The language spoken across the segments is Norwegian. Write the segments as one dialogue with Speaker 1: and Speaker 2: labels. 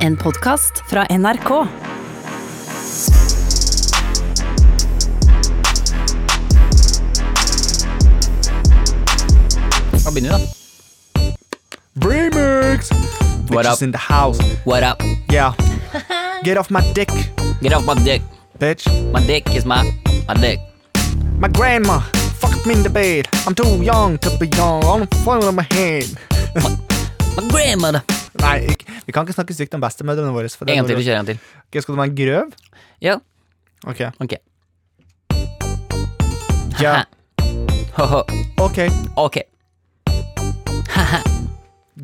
Speaker 1: En podkast fra NRK.
Speaker 2: Da begynner vi, da.
Speaker 3: Remix!
Speaker 2: What
Speaker 3: Bitches
Speaker 2: up?
Speaker 3: in the house.
Speaker 2: What up?
Speaker 3: Yeah. Get off my dick,
Speaker 2: Get off my dick.
Speaker 3: bitch.
Speaker 2: My dick is my my dick.
Speaker 3: My grandma fucked me in the bed. I'm too young to be young. On the phone of my hand.
Speaker 2: My grandmother.
Speaker 3: Nei, ikk- vi kan ikke snakke stygt om bestemødrene våre. For det
Speaker 2: En gang
Speaker 3: er
Speaker 2: til, vi
Speaker 3: dårlig.
Speaker 2: kjører en gang til.
Speaker 3: Ok, skal du være en grøv?
Speaker 2: Ja,
Speaker 3: Ok.
Speaker 2: ok.
Speaker 3: Ja.
Speaker 2: Ho-ho.
Speaker 3: Ok.
Speaker 2: Ok.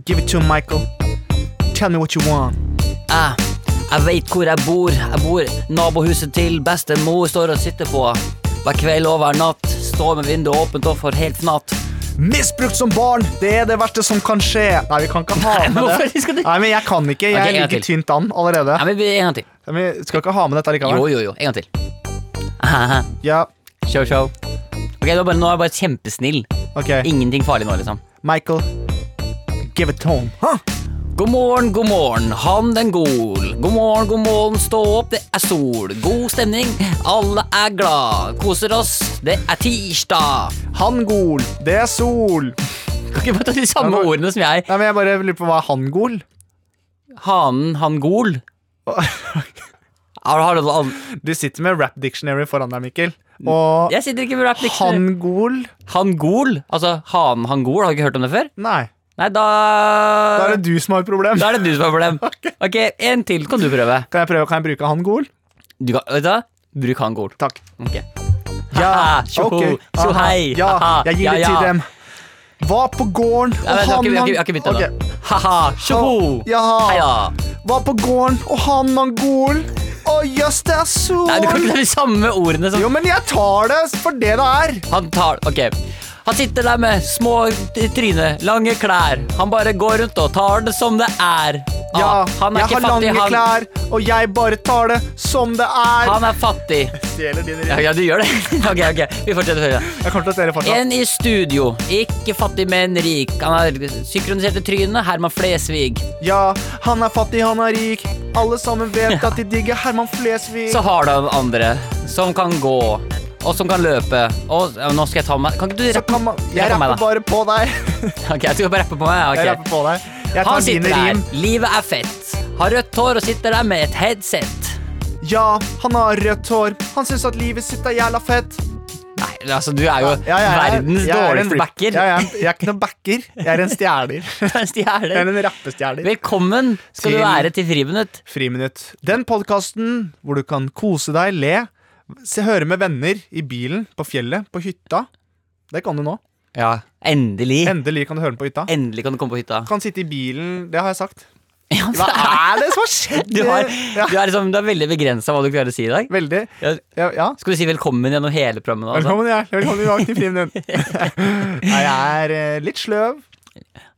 Speaker 3: Give it to Michael. Tell me what you want.
Speaker 2: Ah, jeg veit hvor jeg bor. Jeg bor nabohuset til bestemor står og sitter på. Hver kveld og hver natt står med vinduet åpent og får helt fnatt.
Speaker 3: Misbrukt som barn! Det er det verste som kan skje. Nei, vi kan ikke ha
Speaker 2: Nei,
Speaker 3: med
Speaker 2: hvorfor
Speaker 3: det.
Speaker 2: skal du-
Speaker 3: Nei, men jeg kan ikke.
Speaker 2: Ok,
Speaker 3: Jeg
Speaker 2: en gang
Speaker 3: ligger
Speaker 2: til.
Speaker 3: tynt an allerede.
Speaker 2: Ja, men vi- En gang til.
Speaker 3: Men vi skal ikke ha med dette likevel.
Speaker 2: Jo, jo, jo. En gang til. Ahaha.
Speaker 3: Ja.
Speaker 2: Show, show. Ok, det var bare, Nå er jeg bare kjempesnill.
Speaker 3: Ok.
Speaker 2: Ingenting farlig nå, liksom.
Speaker 3: Michael, give it home. Huh?
Speaker 2: God morgen, god morgen, han den gol. God morgen, god morgen, stå opp, det er sol. God stemning, alle er glad. Koser oss, det er tirsdag.
Speaker 3: Hangol, det er sol.
Speaker 2: Kan ikke bare ta de samme
Speaker 3: Ja, men-
Speaker 2: ordene som jeg.
Speaker 3: Nei, men Jeg bare lurer på hva er hangol?
Speaker 2: Hanen, han gol. Har, har du all-
Speaker 3: Du sitter med rap dictionary foran deg, Mikkel. Og
Speaker 2: Jeg sitter ikke med rap dictionary.
Speaker 3: hangol
Speaker 2: Han gol, altså hanen, han gol, har du ikke hørt om det før?
Speaker 3: Nei.
Speaker 2: Nei, da
Speaker 3: Da er det du som har et problem.
Speaker 2: Da er det du som har problem. Ok, en til kan du prøve.
Speaker 3: Kan jeg prøve, kan jeg bruke hangol?
Speaker 2: Du kan, vet du hva? Bruk han gol.
Speaker 3: Takk.
Speaker 2: Ok. Ja, tjoho,
Speaker 3: ok.
Speaker 2: tjo
Speaker 3: Aha,
Speaker 2: hei,
Speaker 3: Ja,
Speaker 2: aha,
Speaker 3: jeg gir
Speaker 2: ja,
Speaker 3: det
Speaker 2: ja.
Speaker 3: til dem. Var på gården og
Speaker 2: Nei, nei, vi har ikke-
Speaker 3: han
Speaker 2: vi har ikke- vi har ikke begynt
Speaker 3: Ok.
Speaker 2: ennå. Haha, tjoho!
Speaker 3: Jaha.
Speaker 2: Heia.
Speaker 3: Var på gården og han hangol. Å jøss, det er sol.
Speaker 2: Nei, du kan ikke ta de samme ordene som
Speaker 3: Jo, men jeg tar det for det det er.
Speaker 2: Han tar Ok. Han sitter der med små t- tryne, lange klær. Han bare går rundt og tar det som det er. Ah,
Speaker 3: Ja,
Speaker 2: han er
Speaker 3: jeg
Speaker 2: ikke
Speaker 3: har
Speaker 2: fattig,
Speaker 3: lange
Speaker 2: han.
Speaker 3: klær, og jeg bare tar det som det er.
Speaker 2: Han er fattig.
Speaker 3: Stjeler dine
Speaker 2: Ja, ja, du gjør det. ok, ok. Vi fortsetter. høyre.
Speaker 3: Jeg kommer til å stjele fortsatt.
Speaker 2: En i studio. Ikke fattig, men rik. Han har synkroniserte tryne. Herman Flesvig.
Speaker 3: Ja, han er fattig, han er rik. Alle sammen vet at de digger Herman Flesvig.
Speaker 2: Så har du han andre som kan gå, og som kan løpe. Og ja, nå skal jeg ta meg Kan ikke du
Speaker 3: Så
Speaker 2: rappe?
Speaker 3: kan man Jeg
Speaker 2: rapp om meg,
Speaker 3: rapper
Speaker 2: da.
Speaker 3: bare på deg.
Speaker 2: Ok, jeg skal bare rappe på meg. ja, ok.
Speaker 3: Jeg rapper på deg. Jeg
Speaker 2: Han
Speaker 3: tar
Speaker 2: sitter
Speaker 3: dine
Speaker 2: der,
Speaker 3: rim.
Speaker 2: livet er fett. Har rødt hår og sitter der med et headset.
Speaker 3: Ja, han har rødt hår. Han syns at livet sitt er jævla fett.
Speaker 2: Nei, altså du er jo
Speaker 3: Ja, jeg er-
Speaker 2: verdens
Speaker 3: jeg er en
Speaker 2: dårligste
Speaker 3: rip-
Speaker 2: backer.
Speaker 3: Ja, jeg, er- jeg er ikke noen backer. Jeg er en stjeler. Jeg er
Speaker 2: Stjeler.
Speaker 3: en rappestjeler.
Speaker 2: Velkommen skal du
Speaker 3: Til-
Speaker 2: være til Friminutt.
Speaker 3: Friminutt. Den podkasten hvor du kan kose deg, le, se, høre med venner i bilen, på fjellet, på hytta. Det kan du nå.
Speaker 2: Ja, endelig.
Speaker 3: Endelig kan du høre den på hytta.
Speaker 2: Endelig kan du komme på hytta.
Speaker 3: kan sitte i bilen, det har jeg sagt.
Speaker 2: Ja,
Speaker 3: Hva
Speaker 2: så-
Speaker 3: er det som har skjedd?
Speaker 2: Du, har,
Speaker 3: ja,
Speaker 2: du, er liksom, du er veldig begrensa hva du klarer å si i dag.
Speaker 3: veldig.
Speaker 2: Ja,
Speaker 3: Ja, ja.
Speaker 2: skal du si velkommen gjennom hele programmet? nå, Altså?
Speaker 3: Velkommen, ja. Velkommen i dag til Friminutt. Nei, jeg er eh, litt sløv.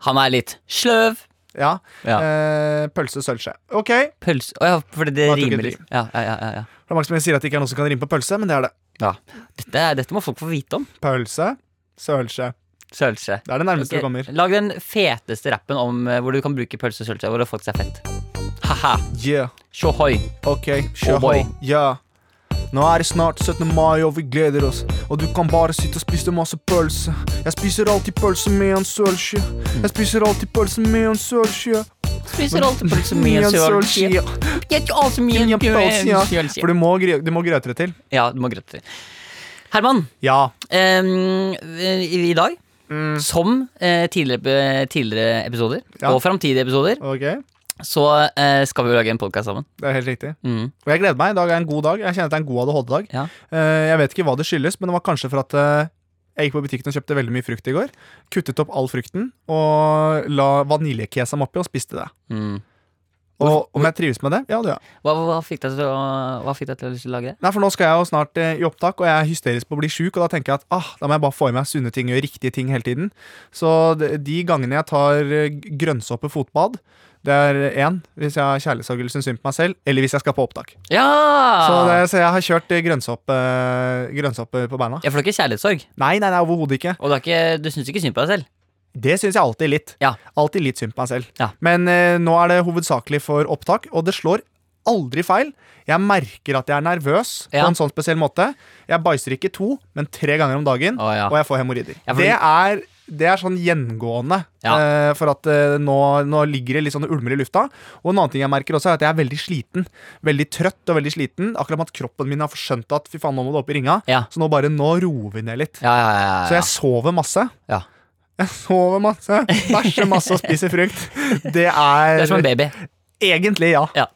Speaker 2: Han er litt sløv.
Speaker 3: Ja.
Speaker 2: Ja.
Speaker 3: Eh, pølse og sølvskje. Ok. Det
Speaker 2: Pølse Å ja, fordi det
Speaker 3: Nå tok jeg
Speaker 2: rimer
Speaker 3: et
Speaker 2: litt. Ja, ja, ja, ja, ja.
Speaker 3: er mange som sier at det ikke er noen som kan rime på pølse, men det er det.
Speaker 2: Dette, er- dette må folk få vite om.
Speaker 3: Pølse, sølvskje.
Speaker 2: Sølvskje.
Speaker 3: Det er det nærmeste
Speaker 2: Ok,
Speaker 3: du kommer.
Speaker 2: Lag den feteste rappen om eh, hvor du kan bruke pølse og sølvskje, hvor det faktisk er fett. Haha.
Speaker 3: Yeah.
Speaker 2: Tjohoi.
Speaker 3: Ok. Tjoho.
Speaker 2: Oh boy.
Speaker 3: Ja. Nå er det snart 17. mai, og vi gleder oss. Og du kan bare sitte og spise masse pølse. Jeg spiser alltid pølse med en sølvskje. Jeg spiser alltid pølse med en sølvskje.
Speaker 2: Spiser alltid pølse med en sølvskje. Jeg tar altså med en sølvskje.
Speaker 3: For du må, gre- du må grøtere til.
Speaker 2: Ja, du må grøtte. Herman,
Speaker 3: Ja. Mm.
Speaker 2: em, i i dag, som eh, tidligere, tidligere episoder
Speaker 3: Ja.
Speaker 2: og framtidige episoder,
Speaker 3: Ok, det
Speaker 2: så eh, skal vi jo lage en podkast sammen.
Speaker 3: er helt riktig.
Speaker 2: Mm.
Speaker 3: Og jeg gleder meg. I dag er en god dag. Jeg kjenner at det er en god ADHD-dag.
Speaker 2: Ja.
Speaker 3: Eh, Jeg vet ikke hva det skyldes, men det var kanskje for at eh, jeg gikk på butikken og kjøpte veldig mye frukt i går. Kuttet opp all frukten og la vaniljekesam oppi og spiste det.
Speaker 2: Mm.
Speaker 3: Og om jeg trives med det? Ja, det gjør jeg.
Speaker 2: Hva, hva, fikk deg til å, hva fikk deg til å lyst til å lage det?
Speaker 3: Nei, for nå skal jeg jo snart eh, i opptak, og jeg er hysterisk på å bli sjuk, og da tenker jeg at ah, da må jeg bare få i meg sunne ting og gjøre riktige ting hele tiden. Så de de gangene jeg tar eh, grønnsåpe fotbad, det er én hvis jeg har kjærlighetssorg eller syns synd på meg selv, eller hvis jeg skal på opptak.
Speaker 2: Ja!
Speaker 3: Så, det, så jeg har kjørt eh, grønnsåpe, grønnsåpe på beina.
Speaker 2: Ja, for du har ikke kjærlighetssorg,
Speaker 3: Nei, nei, nei, overhodet ikke.
Speaker 2: og du, har ikke, du syns ikke synd på deg selv.
Speaker 3: Det syns jeg alltid litt.
Speaker 2: Ja.
Speaker 3: Alltid litt synd på meg selv.
Speaker 2: Ja.
Speaker 3: Men eh, nå er det hovedsakelig for opptak, og det slår aldri feil. Jeg merker at jeg er nervøs
Speaker 2: Ja.
Speaker 3: på en sånn spesiell måte. Jeg bæsjer ikke to, men tre ganger om dagen,
Speaker 2: Å, ja.
Speaker 3: og jeg får hemoroider.
Speaker 2: Ja, for-
Speaker 3: det, er, det er sånn gjengående,
Speaker 2: Ja.
Speaker 3: eh, for at eh, nå, nå ligger det litt sånn og ulmer i lufta. Og en annen ting jeg merker også, er at jeg er veldig sliten. Veldig trøtt og veldig sliten. Akkurat med at kroppen min har forskjønt at fy faen, nå må du opp i ringa.
Speaker 2: Ja.
Speaker 3: Så nå bare, nå roer vi ned litt.
Speaker 2: Ja, ja, ja, ja.
Speaker 3: Så jeg sover masse.
Speaker 2: Ja.
Speaker 3: Jeg sover masse, bæsjer masse og spiser frukt. Det
Speaker 2: Det er som en
Speaker 3: er
Speaker 2: baby.
Speaker 3: egentlig ja.
Speaker 2: Ja.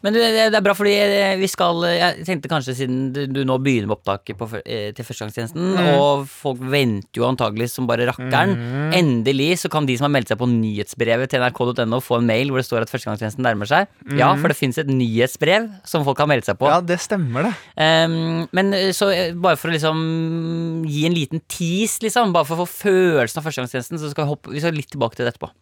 Speaker 2: Men det, det det er bra, fordi eh, vi skal eh, Jeg tenkte kanskje siden du, du nå begynner med opptaket på, fø- eh, til førstegangstjenesten, og folk venter jo antagelig som bare rakkeren. Endelig så kan de som har meldt seg på nyhetsbrevet til nrk.no, få en mail hvor det står at førstegangstjenesten nærmer seg. Ja, for det fins et nyhetsbrev som folk har meldt seg på.
Speaker 3: Ja, det stemmer, det.
Speaker 2: Ehm, men eh, så eh, bare for å liksom gi en liten tease, liksom, bare for å få følelsen av førstegangstjenesten, så skal vi hoppe vi skal litt tilbake til det etterpå.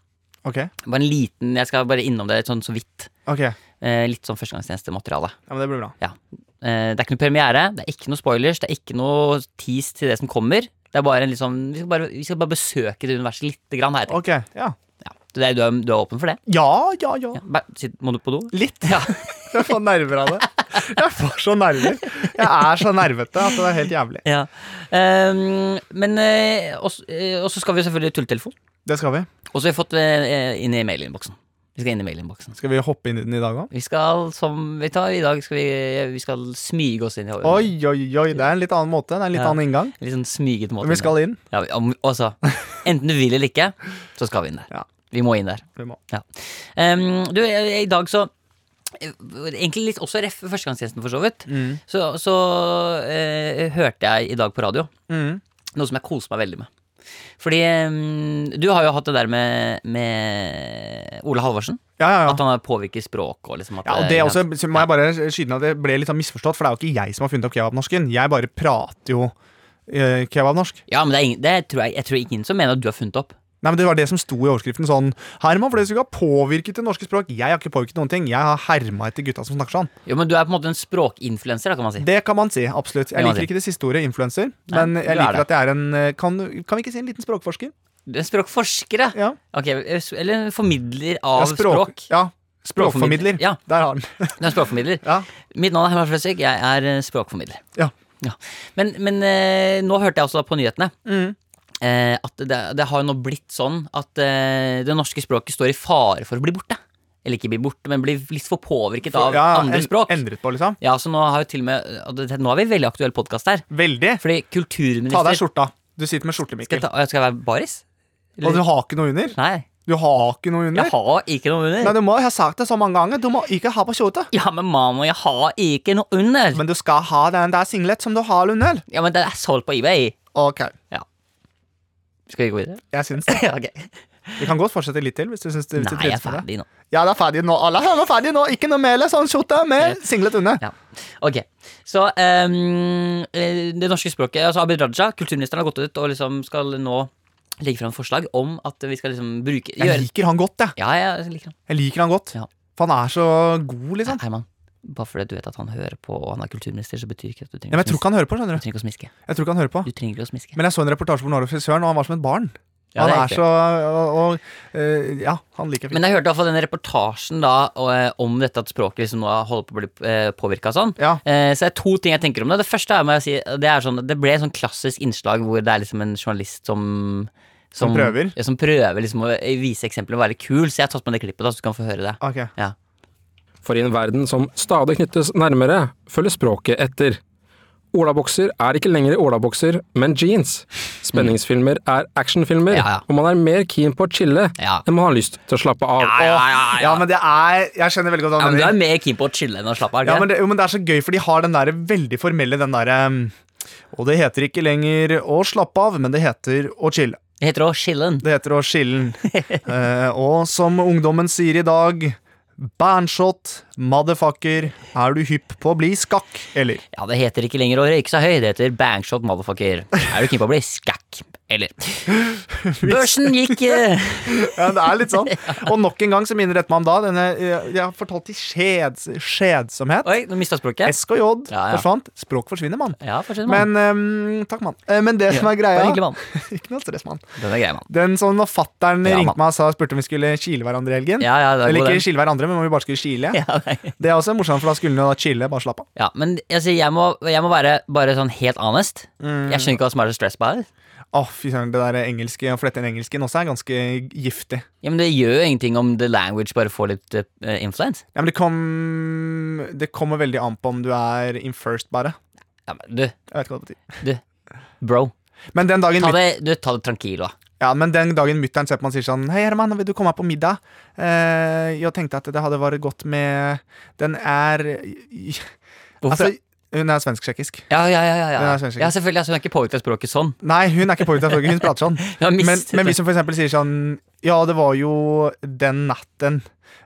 Speaker 3: Ok.
Speaker 2: Bare en liten, Jeg skal bare innom det sånn så vidt.
Speaker 3: ok ja,
Speaker 2: Eh, litt sånn førstegangstjenestemateriale.
Speaker 3: men Det blir bra.
Speaker 2: Ja. Eh, det er ikke noe premiere, det er ikke noe spoilers, det er ikke noe tease til det som kommer. Det er bare en litt sånn, vi, skal bare, vi skal bare besøke det universet lite grann. Her, jeg tenker.
Speaker 3: Ok, Ja,
Speaker 2: ja. du, er, du, er, du er åpen for det?
Speaker 3: ja, ja. ja.
Speaker 2: Ja. Bare, sitt- må du på do?
Speaker 3: Litt.
Speaker 2: Ja.
Speaker 3: Jeg får nerver av det. Jeg får så nerver. Jeg er så nervete at det er helt jævlig.
Speaker 2: ja. Ehm, men eh, også- eh, Og så skal vi selvfølgelig tulletelefon.
Speaker 3: Det skal vi.
Speaker 2: Og så har vi fått eh, inn i mailinnboksen. Vi skal inn i mailinnboksen.
Speaker 3: Skal vi hoppe inn i den i dag òg?
Speaker 2: Vi skal som vi tar, I dag skal vi, vi skal smyge oss inn i
Speaker 3: Oi, oi, oi. Det er en litt annen måte. Det er en litt
Speaker 2: Ja.
Speaker 3: annen inngang.
Speaker 2: Litt sånn smyget måte.
Speaker 3: Men vi skal inn.
Speaker 2: Ja, vi- om, altså, enten du vil eller ikke, så skal vi inn der.
Speaker 3: Ja.
Speaker 2: Vi må inn der.
Speaker 3: Vi må.
Speaker 2: Ja. Em, du, eh, i dag så eh, Egentlig litt også ref førstegangstjenesten, for så vidt.
Speaker 3: Mm.
Speaker 2: Så, så eh, hørte jeg i dag på radio
Speaker 3: Mm.
Speaker 2: noe som jeg koser meg veldig med. Fordi em, du har jo hatt det der med, med Ole Halvorsen.
Speaker 3: Ja, ja, ja.
Speaker 2: At han påvirker språket og liksom at
Speaker 3: Ja, og det er også, så må jeg bare skyte inn at det ble litt sånn misforstått, for det er jo ikke jeg som har funnet opp kebabnorsken. Jeg bare prater jo eh, kebabnorsk.
Speaker 2: Ja, men det er ingen, det tror jeg, jeg tror ingen som mener at du har funnet opp.
Speaker 3: Nei, men Det var det som sto i overskriften. sånn Herman Flesvig har påvirket det norske språk. Jeg har ikke påvirket noen ting. Jeg har herma etter gutta som snakker sånn.
Speaker 2: Jo, men du er på en måte en språkinfluenser, da, kan man si.
Speaker 3: Det kan man si. absolutt Jeg
Speaker 2: Det må man
Speaker 3: liker
Speaker 2: si.
Speaker 3: ikke det siste ordet, influenser,
Speaker 2: Nei,
Speaker 3: men
Speaker 2: du er
Speaker 3: jeg liker
Speaker 2: det.
Speaker 3: at jeg er en eh, kan, kan vi ikke si en liten språkforsker?
Speaker 2: Du er en språkforsker, ja.
Speaker 3: Ja.
Speaker 2: Ok, Eller en formidler av
Speaker 3: Ja,
Speaker 2: språk.
Speaker 3: Ja. Språkformidler.
Speaker 2: Ja,
Speaker 3: Der har den.
Speaker 2: du er en språkformidler.
Speaker 3: Ja.
Speaker 2: Mitt navn er Herman Flesvig, jeg er eh, språkformidler.
Speaker 3: Ja.
Speaker 2: Men, men eh, nå hørte jeg også da på nyhetene
Speaker 3: Mm.
Speaker 2: eh, at det, det har jo nå blitt sånn at eh, det norske språket står i fare for å bli borte. Eller ikke bli borte, men bli litt for påvirket av
Speaker 3: Ja,
Speaker 2: andre
Speaker 3: en-
Speaker 2: språk.
Speaker 3: Endret på, liksom.
Speaker 2: Ja, så nå har jo til og med og det- Nå har vi en veldig aktuell podkast her.
Speaker 3: Veldig.
Speaker 2: Fordi
Speaker 3: Ta av
Speaker 2: kulturminister
Speaker 3: deg skjorta. Du sitter med
Speaker 2: Skal
Speaker 3: skjorte,
Speaker 2: jeg,
Speaker 3: Mikkel.
Speaker 2: ta, skal jeg være baris?
Speaker 3: Og du har ikke noe under?
Speaker 2: Nei.
Speaker 3: Du har ikke noe under?
Speaker 2: Jeg har ikke noe under.
Speaker 3: Nei, du må, jeg har sagt det så mange ganger. Du må ikke ha på kjote.
Speaker 2: Ja, men mamma, jeg har ikke noe under.
Speaker 3: Men du skal ha den der singlet som du har under.
Speaker 2: ja, men det er solgt på eBay.
Speaker 3: Ok,
Speaker 2: Skal vi gå videre?
Speaker 3: jeg syns det.
Speaker 2: Ja, ok.
Speaker 3: Vi kan godt fortsette litt til. hvis du synes det, hvis du
Speaker 2: Nei, jeg
Speaker 3: trives
Speaker 2: er
Speaker 3: med det.
Speaker 2: ferdig nå.
Speaker 3: Ja, det er ferdig nå. Alle her er ferdig nå. Ikke noe mer sånn skjorte med singlet under.
Speaker 2: Ja. Ok, så ehm, eh, det norske språket Altså Abid Raja, kulturministeren, har gått ut og liksom skal nå legge fram forslag om at vi skal liksom bruke
Speaker 3: Jeg
Speaker 2: gjøre,
Speaker 3: liker han godt, jeg.
Speaker 2: Ja, jeg liker han.
Speaker 3: Jeg liker han godt.
Speaker 2: Ja.
Speaker 3: For han er så god, liksom.
Speaker 2: Herman, bare fordi du vet at han hører på og han er kulturminister, så betyr ikke at du
Speaker 3: Ja,
Speaker 2: trenger,
Speaker 3: men jeg
Speaker 2: å,
Speaker 3: tror ikke han hører på, skjønner
Speaker 2: smiske. Du trenger ikke å
Speaker 3: du.
Speaker 2: smiske.
Speaker 3: Jeg tror ikke han hører på.
Speaker 2: Du trenger ikke å smiske.
Speaker 3: Men jeg så en reportasje hvor han var hos frisøren, og han var som et barn.
Speaker 2: Ja,
Speaker 3: han
Speaker 2: det er
Speaker 3: er
Speaker 2: riktig.
Speaker 3: så og, og, eh, Ja, han liker fint.
Speaker 2: Men jeg hørte i hvert fall den reportasjen da og, eh, om dette at språket liksom nå holder på å bli påvirka sånn.
Speaker 3: Ja.
Speaker 2: Eh, Så det er to ting jeg tenker om det. Det første er, må jeg si, det er sånn Det ble et sånn klassisk innslag hvor det er liksom en journalist som
Speaker 3: Som prøver?
Speaker 2: Ja, som prøver liksom å vise eksempler og være kul. Så jeg har tatt med det klippet, da, så du kan få høre det.
Speaker 3: Ok.
Speaker 2: Ja.
Speaker 4: For i en verden som stadig knyttes nærmere, følger språket etter. Olabokser er ikke lenger olabokser, men jeans. Spenningsfilmer er actionfilmer,
Speaker 2: Ja, ja.
Speaker 4: og man er mer keen på å chille
Speaker 2: Ja.
Speaker 4: enn man har lyst til å slappe av.
Speaker 2: Ja, ja, ja, ja.
Speaker 3: ja, men det er Jeg skjønner veldig godt hva
Speaker 2: Ja,
Speaker 3: han
Speaker 2: men Du
Speaker 3: mener.
Speaker 2: er mer keen på å chille enn å slappe av?
Speaker 3: Ja,
Speaker 2: ikke
Speaker 3: men
Speaker 2: det...
Speaker 3: det, jo, men det er så gøy, for de har den der veldig formelle den derre Og det heter ikke lenger å slappe av, men det heter å chille.
Speaker 2: det heter å chille'n.
Speaker 3: Det heter å chille'n. Eh, og som ungdommen sier i dag Bandshot, motherfucker, er du hypp på å bli skakk, eller?
Speaker 2: Ja, det heter ikke lenger å røyke seg høy. Det heter bangshot motherfucker. Er du keen på å bli skakk? eller Børsen gikk eh,
Speaker 3: Ja, det er litt sånn. Og nok en gang så minner dette meg om da denne eh, Jeg har fortalt i skjeds, skjedsomhet.
Speaker 2: Oi, nå mista språket.
Speaker 3: SK og J
Speaker 2: Ja, ja.
Speaker 3: forsvant. Språk forsvinner, mann.
Speaker 2: Ja, fortsett, mann.
Speaker 3: Men ehm, Takk, mann. Eh, Men det som er
Speaker 2: Bare
Speaker 3: greia
Speaker 2: hyggelig, mann.
Speaker 3: Ikke noe stress, mann.
Speaker 2: Den er grei, mann.
Speaker 3: Den som når fattern
Speaker 2: Ja,
Speaker 3: ringte
Speaker 2: mann.
Speaker 3: meg og sa, spurte om vi skulle kile hverandre i helgen.
Speaker 2: Ja, ja, det er
Speaker 3: Eller
Speaker 2: god,
Speaker 3: ikke
Speaker 2: den.
Speaker 3: kile hverandre, men om vi bare skulle kile.
Speaker 2: Ja, nei.
Speaker 3: Det er også morsomt, for da skulle han jo da chille. Bare slapp av.
Speaker 2: ja, men altså, jeg, må, jeg må være bare sånn helt honest.
Speaker 3: Mm.
Speaker 2: Jeg skjønner ikke hva som er så stress på her.
Speaker 3: Å, fy søren, det der engelske, å flette inn engelsken også er ganske giftig.
Speaker 2: Ja, men Det gjør jo ingenting om the language bare får litt uh, influence.
Speaker 3: Ja, men det kom Det kommer veldig an på om du er in first, bare.
Speaker 2: Ja, men du,
Speaker 3: Jeg vet ikke hva det betyr.
Speaker 2: bro,
Speaker 3: Men den dagen
Speaker 2: ta det, du, ta det tranquilo.
Speaker 3: Ja, men den dagen mutter'n ser på meg og sier sånn Hei, Herman, vil du komme her på middag? Eh, jeg tenkte at det hadde vært godt med Den er Altså,
Speaker 2: Hvorfor?
Speaker 3: hun er svensk-tsjekkisk.
Speaker 2: Ja, ja, ja, ja,
Speaker 3: Den
Speaker 2: ja.
Speaker 3: er svensk.
Speaker 2: ja selvfølgelig, altså, Hun er ikke påvirket av språket sånn.
Speaker 3: Nei, hun er ikke påvirket av språket, hun prater sånn.
Speaker 2: Hun har
Speaker 3: Men,
Speaker 2: mistet
Speaker 3: men
Speaker 2: det.
Speaker 3: hvis hun for eksempel sier sånn Ja, det var jo den natten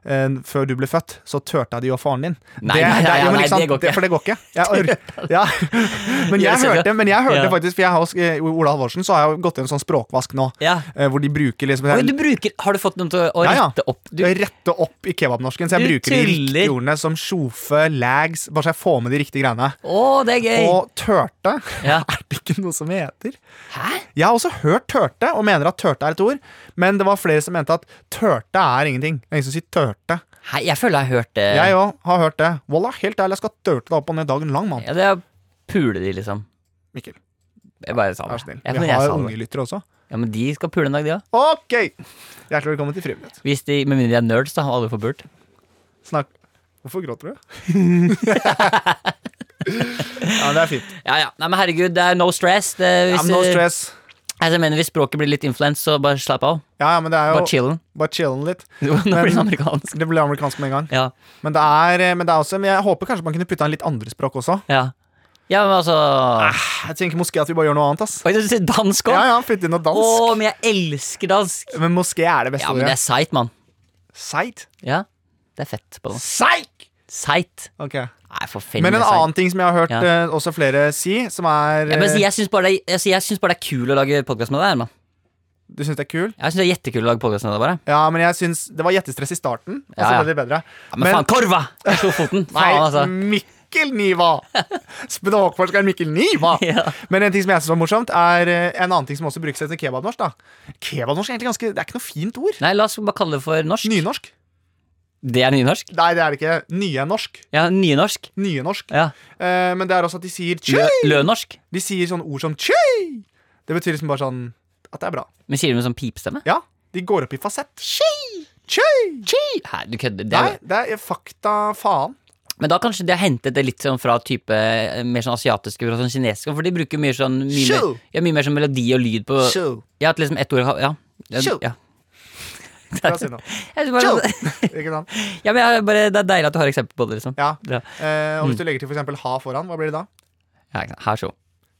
Speaker 3: eh, før du ble født, så tørte jeg det jo av faren din.
Speaker 2: Nei,
Speaker 3: det,
Speaker 2: nei, nei,
Speaker 3: jo, men
Speaker 2: nei,
Speaker 3: ikke sant,
Speaker 2: det går ikke.
Speaker 3: for det går ikke. Jeg, or- ja. Men jeg hørte, men jeg hørte
Speaker 2: Ja.
Speaker 3: faktisk, for jeg har, også- eh, Ola Halvorsen, så har jeg jo gått i en sånn språkvask nå,
Speaker 2: Ja.
Speaker 3: eh, hvor de bruker liksom
Speaker 2: Oi, du bruker, har du fått noen til å å
Speaker 3: Ja, ja.
Speaker 2: rette opp? Du,
Speaker 3: Jeg rette opp i kebabnorsken, så jeg
Speaker 2: Du
Speaker 3: bruker de riktige
Speaker 2: tuller.
Speaker 3: ordene som sjofe, lags, bare så jeg får med de riktige greiene.
Speaker 2: å, det er gøy!
Speaker 3: Og tørte
Speaker 2: Ja.
Speaker 3: er det ikke noe som heter.
Speaker 2: Hæ?
Speaker 3: Jeg har også hørt tørte, og mener at tørte er et ord, men det var flere som mente at tørte er ingenting. Det er ingen som sier tørte.
Speaker 2: Hei, jeg føler jeg har hørt det.
Speaker 3: Jeg òg har hørt det. Wallah, helt ærlig, jeg skal tørte deg opp og ned dagen lang, mann.
Speaker 2: Ja, det er å pule de, liksom.
Speaker 3: Mikkel,
Speaker 2: Jeg bare sa det.
Speaker 3: vær snill.
Speaker 2: Jeg,
Speaker 3: Vi
Speaker 2: jeg
Speaker 3: har
Speaker 2: sa
Speaker 3: unge
Speaker 2: det.
Speaker 3: lyttere også.
Speaker 2: Ja, men de skal pule en dag, de òg.
Speaker 3: Ok! Hjertelig velkommen til Frivillighet.
Speaker 2: Hvis de, med mindre de er nerds, da har alle fått pult.
Speaker 3: Snakk Hvorfor gråter du? ja, men det er fint.
Speaker 2: Ja, ja. Nei, men herregud, det er no stress. Det, er-
Speaker 3: Ja,
Speaker 2: hvis,
Speaker 3: men no stress.
Speaker 2: Altså, jeg mener, hvis språket blir litt influens, så bare slapp av.
Speaker 3: Ja, ja, men det er
Speaker 2: Bare
Speaker 3: jo
Speaker 2: chillen.
Speaker 3: Bare chillen litt.
Speaker 2: Nå blir det
Speaker 3: Men-
Speaker 2: amerikansk.
Speaker 3: Det ble amerikansk med en gang.
Speaker 2: Ja,
Speaker 3: Men det er, eh, men det er også men Jeg håper kanskje man kunne putta inn litt andre språk også.
Speaker 2: ja. Ja, men altså
Speaker 3: Jeg tenker moské at vi bare gjør noe annet, ass.
Speaker 2: Oi, du sier dansk
Speaker 3: Ah. Ja,
Speaker 2: òg?
Speaker 3: ja, putte inn noe
Speaker 2: Å,
Speaker 3: dansk.
Speaker 2: men jeg elsker dansk!
Speaker 3: Men moské er det beste
Speaker 2: Ja, men det
Speaker 3: ordet.
Speaker 2: er seigt, mann.
Speaker 3: Seigt.
Speaker 2: Ja, det er fett på dansk.
Speaker 3: Seik!
Speaker 2: Seigt.
Speaker 3: Ok.
Speaker 2: Nei, for film,
Speaker 3: Men en
Speaker 2: det er seigt.
Speaker 3: annen ting som jeg har hørt
Speaker 2: Ja.
Speaker 3: eh, også flere si, som er
Speaker 2: Jeg, bare sier,
Speaker 3: eh,
Speaker 2: jeg syns bare, det er- altså, jeg syns bare det er kul å lage podkast med deg, Herman.
Speaker 3: Du syns det er kul?
Speaker 2: Jeg syns det er jettekul å lage podkast med deg, bare.
Speaker 3: Ja, men jeg syns Det var gjettestress i starten, og så
Speaker 2: Ja, ja.
Speaker 3: ble det bedre.
Speaker 2: Ja, men, faen, korva! Jeg slo foten.
Speaker 3: Nei,
Speaker 2: faen, altså.
Speaker 3: Mikkel Niva! Språkforskeren Mikkel Niva!
Speaker 2: Ja.
Speaker 3: Men en ting som jeg synes var morsomt, er eh, en annen ting som også brukes etter kebabnorsk. da Kebabnorsk er egentlig ganske Det er ikke noe fint ord.
Speaker 2: Nei, la oss bare kalle det for norsk.
Speaker 3: Nynorsk?
Speaker 2: Det er nynorsk?
Speaker 3: Nei, det er det ikke. Nye norsk.
Speaker 2: Ja, nynorsk.
Speaker 3: Nye norsk.
Speaker 2: Ja.
Speaker 3: Eh, men det er også at de sier
Speaker 2: Lø
Speaker 3: tjøy.
Speaker 2: lønorsk.
Speaker 3: De sier sånne ord som tjøy. Det betyr liksom bare sånn at det er bra.
Speaker 2: Men sier de med sånn pipestemme?
Speaker 3: Ja, de går opp i fasett. Tjøy! Tjøy!
Speaker 2: Hæ, du kødder. Det
Speaker 3: Nei,
Speaker 2: er,
Speaker 3: det er fakta faen.
Speaker 2: men da kanskje de har hentet det litt sånn fra type eh, mer sånn asiatiske fra sånn kinesiske, for de bruker mye sånn mye, mer,
Speaker 3: Shoo!
Speaker 2: ja, mye mer sånn melodi og lyd på
Speaker 3: Tjøy.
Speaker 2: Ja, at liksom ett ord har- Ja.
Speaker 3: Shoo!
Speaker 2: ja.
Speaker 3: Skal jeg si noe?
Speaker 2: Jeg synes bare,
Speaker 3: Tjøy! Ikke sant?
Speaker 2: ja, men jeg, bare, det er deilig at du har eksempel på det, liksom.
Speaker 3: Ja.
Speaker 2: Ja. Mm.
Speaker 3: Eh, og hvis du legger til for eksempel ha foran, hva blir det da?
Speaker 2: Ja, ikke sant. Her, så.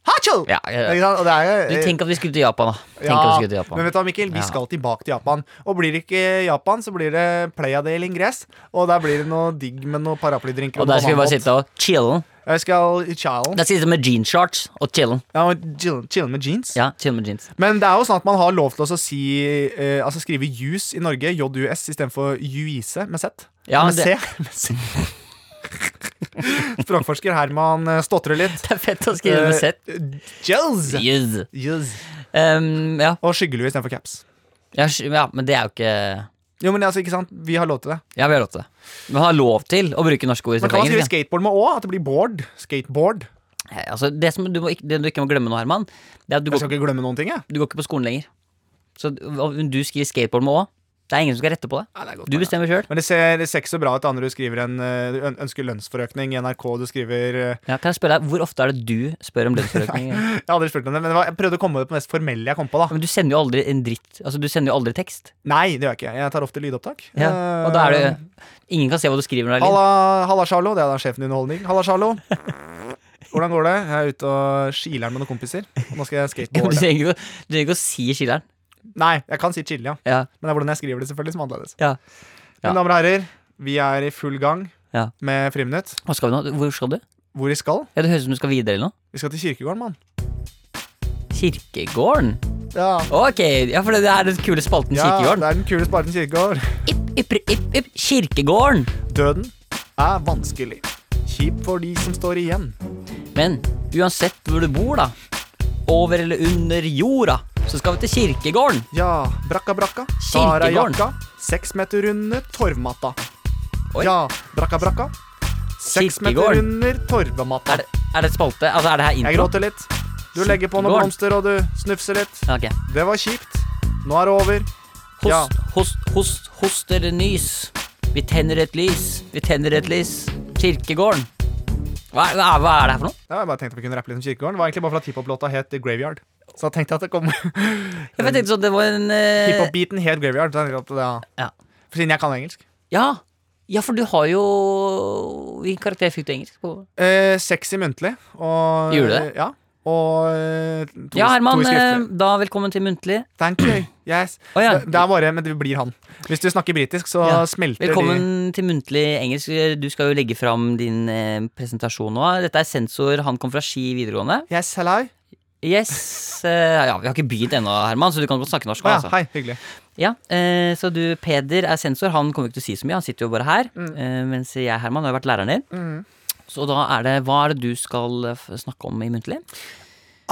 Speaker 3: Hacho!
Speaker 2: Ja, ja,
Speaker 3: Ikke
Speaker 2: ja.
Speaker 3: sant? Og det er jo eh,
Speaker 2: Du, tenk at vi skulle til Japan, da. Tenk
Speaker 3: Ja,
Speaker 2: at vi skulle til Japan.
Speaker 3: Men vet du hva, Mikkel, vi
Speaker 2: Ja.
Speaker 3: skal tilbake til Japan. Og blir det ikke Japan, så blir det Playadale in Gress. Og der blir det noe digg med noe paraplydrinker.
Speaker 2: og der skal vi bare sitte og chille.
Speaker 3: Jeg skal chille.
Speaker 2: Der sitter vi med jeanshorts og chille.
Speaker 3: Ja, og chill- chill med jeans.
Speaker 2: Ja, chille med jeans.
Speaker 3: Men det er jo sånn at man har lov til å si, eh, altså skrive juice i Norge, JUS, istedenfor juise E, med Z.
Speaker 2: Ja,
Speaker 3: med
Speaker 2: det-
Speaker 3: C. Med C. Språkforsker Herman eh, stotrer litt.
Speaker 2: Det er fett å skrive med Z.
Speaker 3: Eh, Jels.
Speaker 2: Yes.
Speaker 3: Jels.
Speaker 2: Um, ja.
Speaker 3: Og skyggelue istedenfor caps.
Speaker 2: Ja, sk- ja, men det er jo ikke
Speaker 3: Jo, men altså, ikke sant, Vi har lov til det.
Speaker 2: Ja, vi har lov til det. Man har lov til å bruke norske ord.
Speaker 3: Men
Speaker 2: istedenfor
Speaker 3: kan man skrive
Speaker 2: engelsk,
Speaker 3: skateboard med Å? At det blir board? Skateboard.
Speaker 2: ja. Eh, Altså, det, som du må, ikke- det du ikke må glemme nå, Herman, det er at du
Speaker 3: Jeg
Speaker 2: går,
Speaker 3: skal ikke glemme noen ting, jeg.
Speaker 2: du går ikke på skolen lenger. Så d- om du skriver skateboard med Å. Det er ingen som skal rette på det. Du bestemmer sjøl.
Speaker 3: Men det ser, det ser ikke så bra ut da når du skriver en, eh, du øn- ønsker lønnsforøkning i NRK. Du skriver eh,
Speaker 2: Ja, kan jeg spørre deg, hvor ofte er det du spør om lønnsforøkning?
Speaker 3: Jeg har aldri spurt om det, men det var, jeg prøvde å komme på det mest formelle jeg kom på. da
Speaker 2: Men du sender jo aldri en dritt. Altså, du sender jo aldri tekst.
Speaker 3: Nei, det gjør jeg ikke. Jeg tar ofte lydopptak.
Speaker 2: Ja.
Speaker 3: Eh,
Speaker 2: Og da er det Ingen kan se hva du skriver når det er lyd.
Speaker 3: Halla, halla Charlo. Det er da sjefen i underholdning. Halla, Charlo. Hvordan går det? Jeg er ute og skiler'n med noen kompiser. Og nå skal jeg
Speaker 2: Ja, men Du
Speaker 3: skateboarde.
Speaker 2: trenger ikke å- du trenger ikke å si skilleren.
Speaker 3: Nei, jeg kan si chille, ja.
Speaker 2: Ja,
Speaker 3: Men det er hvordan jeg skriver det, selvfølgelig, som er annerledes.
Speaker 2: ja. Ja.
Speaker 3: Mine damer og herrer, vi er i full gang
Speaker 2: Ja.
Speaker 3: med Friminutt.
Speaker 2: Hva skal vi nå? Hvor skal du?
Speaker 3: Hvor vi skal?
Speaker 2: Ja, Det høres ut som du skal videre eller noe.
Speaker 3: Vi skal til kirkegården, mann.
Speaker 2: Kirkegården?
Speaker 3: Ja.
Speaker 2: Ok, ja, for det er den kule spalten
Speaker 3: ja, det
Speaker 2: Kirkegården.
Speaker 3: er den kule spalten Kirkegård.
Speaker 2: Ipp, ipp, ipp, ipp, kirkegården!
Speaker 3: Døden er vanskelig. Kjip for de som står igjen.
Speaker 2: Men uansett hvor du bor, da, over eller under jorda, så skal vi til kirkegården.
Speaker 3: Ja, brakka brakka, sara
Speaker 2: Kirkegården.
Speaker 3: jakka, seks meter under torvmatta.
Speaker 2: Oi.
Speaker 3: Ja, brakka brakka, seks meter
Speaker 2: Kirkegården.
Speaker 3: under torvmatta.
Speaker 2: Er det, er det et spalte? Altså, er det her
Speaker 3: Jeg
Speaker 2: intro?
Speaker 3: gråter litt. Du legger på noen
Speaker 2: Kirkegården.
Speaker 3: blomster, og du snufser litt.
Speaker 2: Ja, ok.
Speaker 3: Det var kjipt. Nå er det over.
Speaker 2: Host,
Speaker 3: Ja.
Speaker 2: host, host, host eller nys. Vi tenner et lys, vi tenner et lys. Kirkegården. Hva, er- hva, er- hva er det her for noe?
Speaker 3: Ja, jeg bare tenkte vi kunne rappe litt om Kirkegården. Det var egentlig bare for at hiphop-låta het The Graveyard. Så jeg tenkte at det kom
Speaker 2: Jeg tenkte sånn, det var en eh,
Speaker 3: Hiphop-beaten het Graveyard. Så jeg tenkte at det, ja.
Speaker 2: ja.
Speaker 3: For Siden jeg kan engelsk.
Speaker 2: ja. Ja, for du har jo Hvilken karakter fikk du engelsk på?
Speaker 3: Eh, sexy muntlig. Og
Speaker 2: Gjorde det?
Speaker 3: Ja. Og eh, to,
Speaker 2: Ja,
Speaker 3: to
Speaker 2: Herman,
Speaker 3: i
Speaker 2: eh,
Speaker 3: skriftlig.
Speaker 2: da velkommen til muntlig.
Speaker 3: Thank you. Yes.
Speaker 2: Å, ja.
Speaker 3: Det det er bare Men det blir han. Hvis du snakker britisk, så
Speaker 2: Ja.
Speaker 3: smelter de
Speaker 2: Velkommen til muntlig engelsk. Du skal jo legge fram din eh, presentasjon nå. Dette er sensor, han kom fra Ski videregående.
Speaker 3: Yes, hello.
Speaker 2: Yes. eh, ja, vi har ikke begynt ennå, Herman, så du kan godt snakke norsk.
Speaker 3: Å ja,
Speaker 2: altså.
Speaker 3: hei. Hyggelig.
Speaker 2: Ja, eh, så du, Peder er sensor. Han kommer ikke til å si så mye, han sitter jo bare her. Eh, mens jeg, Herman, har jo vært læreren din. Så da er det Hva er det du skal eh, f- snakke om i muntlig?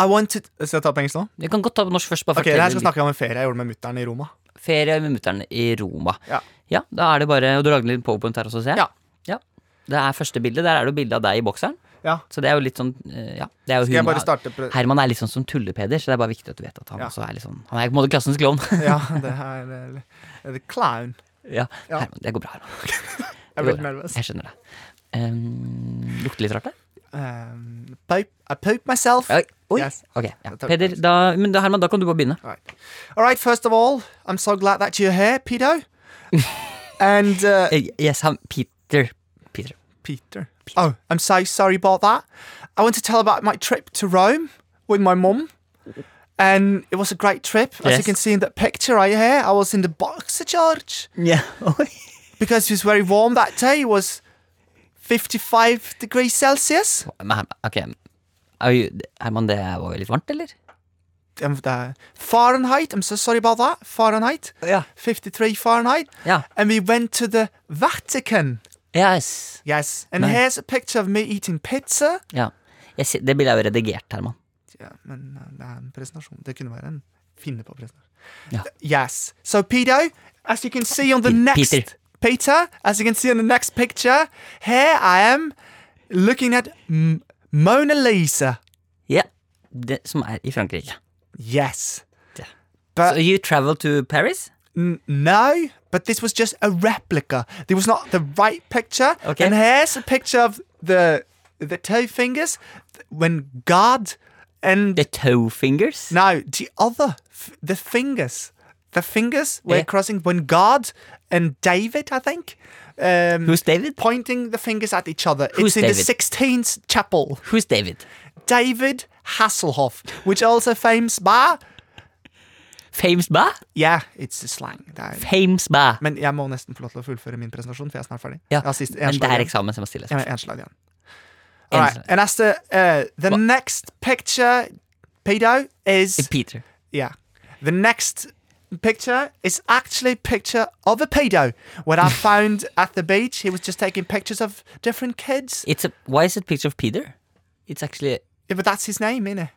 Speaker 3: I want to Skal jeg ta på engelsk nå?
Speaker 2: Vi kan godt ta på norsk først. Bare
Speaker 3: Ok, det her
Speaker 2: fortell
Speaker 3: skal jeg snakke om en ferie jeg gjorde med mutter'n i Roma.
Speaker 2: litt Ferie med mutter'n i Roma.
Speaker 3: Ja.
Speaker 2: Da er det bare Og du lagde litt powerpoint her også, ser jeg?
Speaker 3: Ja.
Speaker 2: Ja. Det er første bildet. Der er det jo bilde av deg i bokseren.
Speaker 3: Ja.
Speaker 2: Så det er jo litt sånn eh, Ja. Det er jo
Speaker 3: Skal jeg
Speaker 2: hun-
Speaker 3: bare starte på
Speaker 2: Herman er litt sånn som Tulle-Peder, så det er bare viktig at du vet at han
Speaker 3: Ja.
Speaker 2: også er litt sånn Han er på en måte klassens klovn.
Speaker 3: Ja, det her er- er det Clown.
Speaker 2: ja.
Speaker 3: Ja.
Speaker 2: Herman, det går bra, Herman.
Speaker 3: Jeg
Speaker 2: Det
Speaker 3: ble
Speaker 2: går
Speaker 3: litt
Speaker 2: bra.
Speaker 3: nervøs.
Speaker 2: Jeg skjønner det. Um, lukter litt rart, det.
Speaker 3: Um, pope, I pope myself.
Speaker 2: Oi. Oi.
Speaker 3: Yes.
Speaker 2: Ok, ja.
Speaker 3: Takk.
Speaker 2: Peder, da, men da, Herman, da kan du bare begynne.
Speaker 3: All right, first of all, I'm so glad that you're here, Pedo. and uh,
Speaker 2: Eh, Yes, han, Peter. Peter.
Speaker 3: Peter. Oh, I'm so sorry about that. I want to tell about my trip to Rome with my mum. And it was a great trip. As you
Speaker 2: Yes.
Speaker 3: can see in that picture right here, I was in the boxer church
Speaker 2: Yeah.
Speaker 3: because it was very warm that day. It was 55 degrees Celsius.
Speaker 2: men Herman, ok. Er jo- Herman, det var jo litt varmt, eller?
Speaker 3: Um, the Fahrenheit, I'm so sorry about that. Fahrenheit.
Speaker 2: Yeah.
Speaker 3: 53 Fahrenheit.
Speaker 2: Yeah.
Speaker 3: And we went to the Vatican.
Speaker 2: Yes.
Speaker 3: Yes. And
Speaker 2: Nice.
Speaker 3: here's a picture of me eating pizza.
Speaker 2: Ja. Jeg, ser- det bildet er jo redigert, Herman.
Speaker 3: Ja, men eh, det er en presentasjon. Det kunne være en finne på presentasjon.
Speaker 2: Ja.
Speaker 3: Yes. So, Pedo, as you can see on the
Speaker 2: Pe-
Speaker 3: next
Speaker 2: Peter.
Speaker 3: Peter, as you can see on the next picture, here I am looking at M Mona Lisa.
Speaker 2: Ja. Det som er i Frankrike.
Speaker 3: Yes.
Speaker 2: Yeah.
Speaker 3: But
Speaker 2: so you travel to Paris?
Speaker 3: n- no, but this was just a replica. This was not the right picture.
Speaker 2: Okay.
Speaker 3: And here's a picture of the the two fingers th- when God and
Speaker 2: The toe fingers?
Speaker 3: Now, the other, f- the fingers, the fingers were
Speaker 2: Yeah.
Speaker 3: crossing when God and David, I think, um,
Speaker 2: Who's David?
Speaker 3: pointing the fingers at each other.
Speaker 2: Who's
Speaker 3: it's in
Speaker 2: David?
Speaker 3: the 16th chapel.
Speaker 2: Who's David?
Speaker 3: David Hasselhoff, which also famous by,
Speaker 2: Fames ba?
Speaker 3: yeah, it's the slang. Det er-
Speaker 2: Fames ba.
Speaker 3: Men jeg må nesten få lov til å fullføre min presentasjon, for jeg er snart ferdig.
Speaker 2: Ja,
Speaker 3: Jeg har sist, en
Speaker 2: men det
Speaker 3: slag
Speaker 2: er
Speaker 3: igjen.
Speaker 2: eksamen som må stilles.
Speaker 3: Jeg har en slag igjen.
Speaker 2: En
Speaker 3: All right,
Speaker 2: slag.
Speaker 3: and that's the, uh, the next picture, pedo, is...
Speaker 2: Peter.
Speaker 3: Yeah. The next picture is actually a picture of a pedo. What I found at the beach, he was just taking pictures of different kids.
Speaker 2: It's a, why is it picture of Peter? It's actually
Speaker 3: Yeah, but that's his name, innit?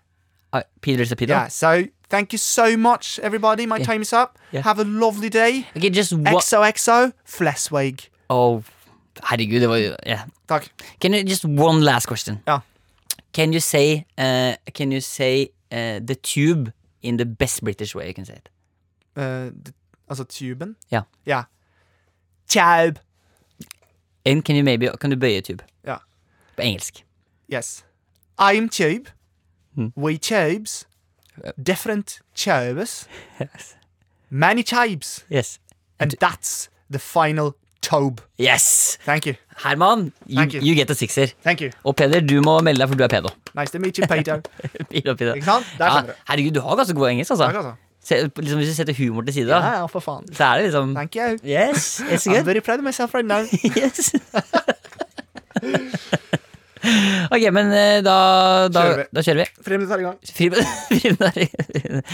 Speaker 2: uh, Peter's a Peter.
Speaker 3: Yeah. So thank you so much, everybody. My time is up.
Speaker 2: Yeah.
Speaker 3: Have a lovely day.
Speaker 2: Okay, just one.
Speaker 3: XOXO Fleswig.
Speaker 2: Oh, herregud, det var jo yeah.
Speaker 3: Takk.
Speaker 2: Can you just one last question?
Speaker 3: Ja.
Speaker 2: Can you say uh, Can you say uh, the tube in the best British way you can say it?
Speaker 3: Eh, d- altså tuben?
Speaker 2: Ja.
Speaker 3: Ja. Tjaub.
Speaker 2: And can you maybe Kan du bøye tube?
Speaker 3: Ja.
Speaker 2: På engelsk.
Speaker 3: Yes. I'm tube.
Speaker 2: Hmm.
Speaker 3: We tubes.
Speaker 2: Eh.
Speaker 3: Different tubes. Many tubes.
Speaker 2: Yes.
Speaker 3: And that's the final tobe.
Speaker 2: Yes!
Speaker 3: Thank you.
Speaker 2: Herman, you,
Speaker 3: Thank you.
Speaker 2: you. get a sixer.
Speaker 3: Thank you.
Speaker 2: Og Peder, du må melde deg, for du er pedo.
Speaker 3: Nice to meet you, Peter.
Speaker 2: Pedo, pedo.
Speaker 3: Ikke sant? Der
Speaker 2: Ja,
Speaker 3: skjønner du.
Speaker 2: herregud, du har ganske god engelsk, altså.
Speaker 3: Takk, altså.
Speaker 2: Se, liksom, hvis du setter humor til side, da,
Speaker 3: Ja, ja, for faen.
Speaker 2: så er det liksom
Speaker 3: Thank you.
Speaker 2: Yes, it's
Speaker 3: I'm
Speaker 2: good.
Speaker 3: very proud of myself right now.
Speaker 2: yes. Ok, men eh, da, da,
Speaker 3: Kjører vi.
Speaker 2: da kjører vi.
Speaker 3: Friminutt er i gang.
Speaker 2: Friminutt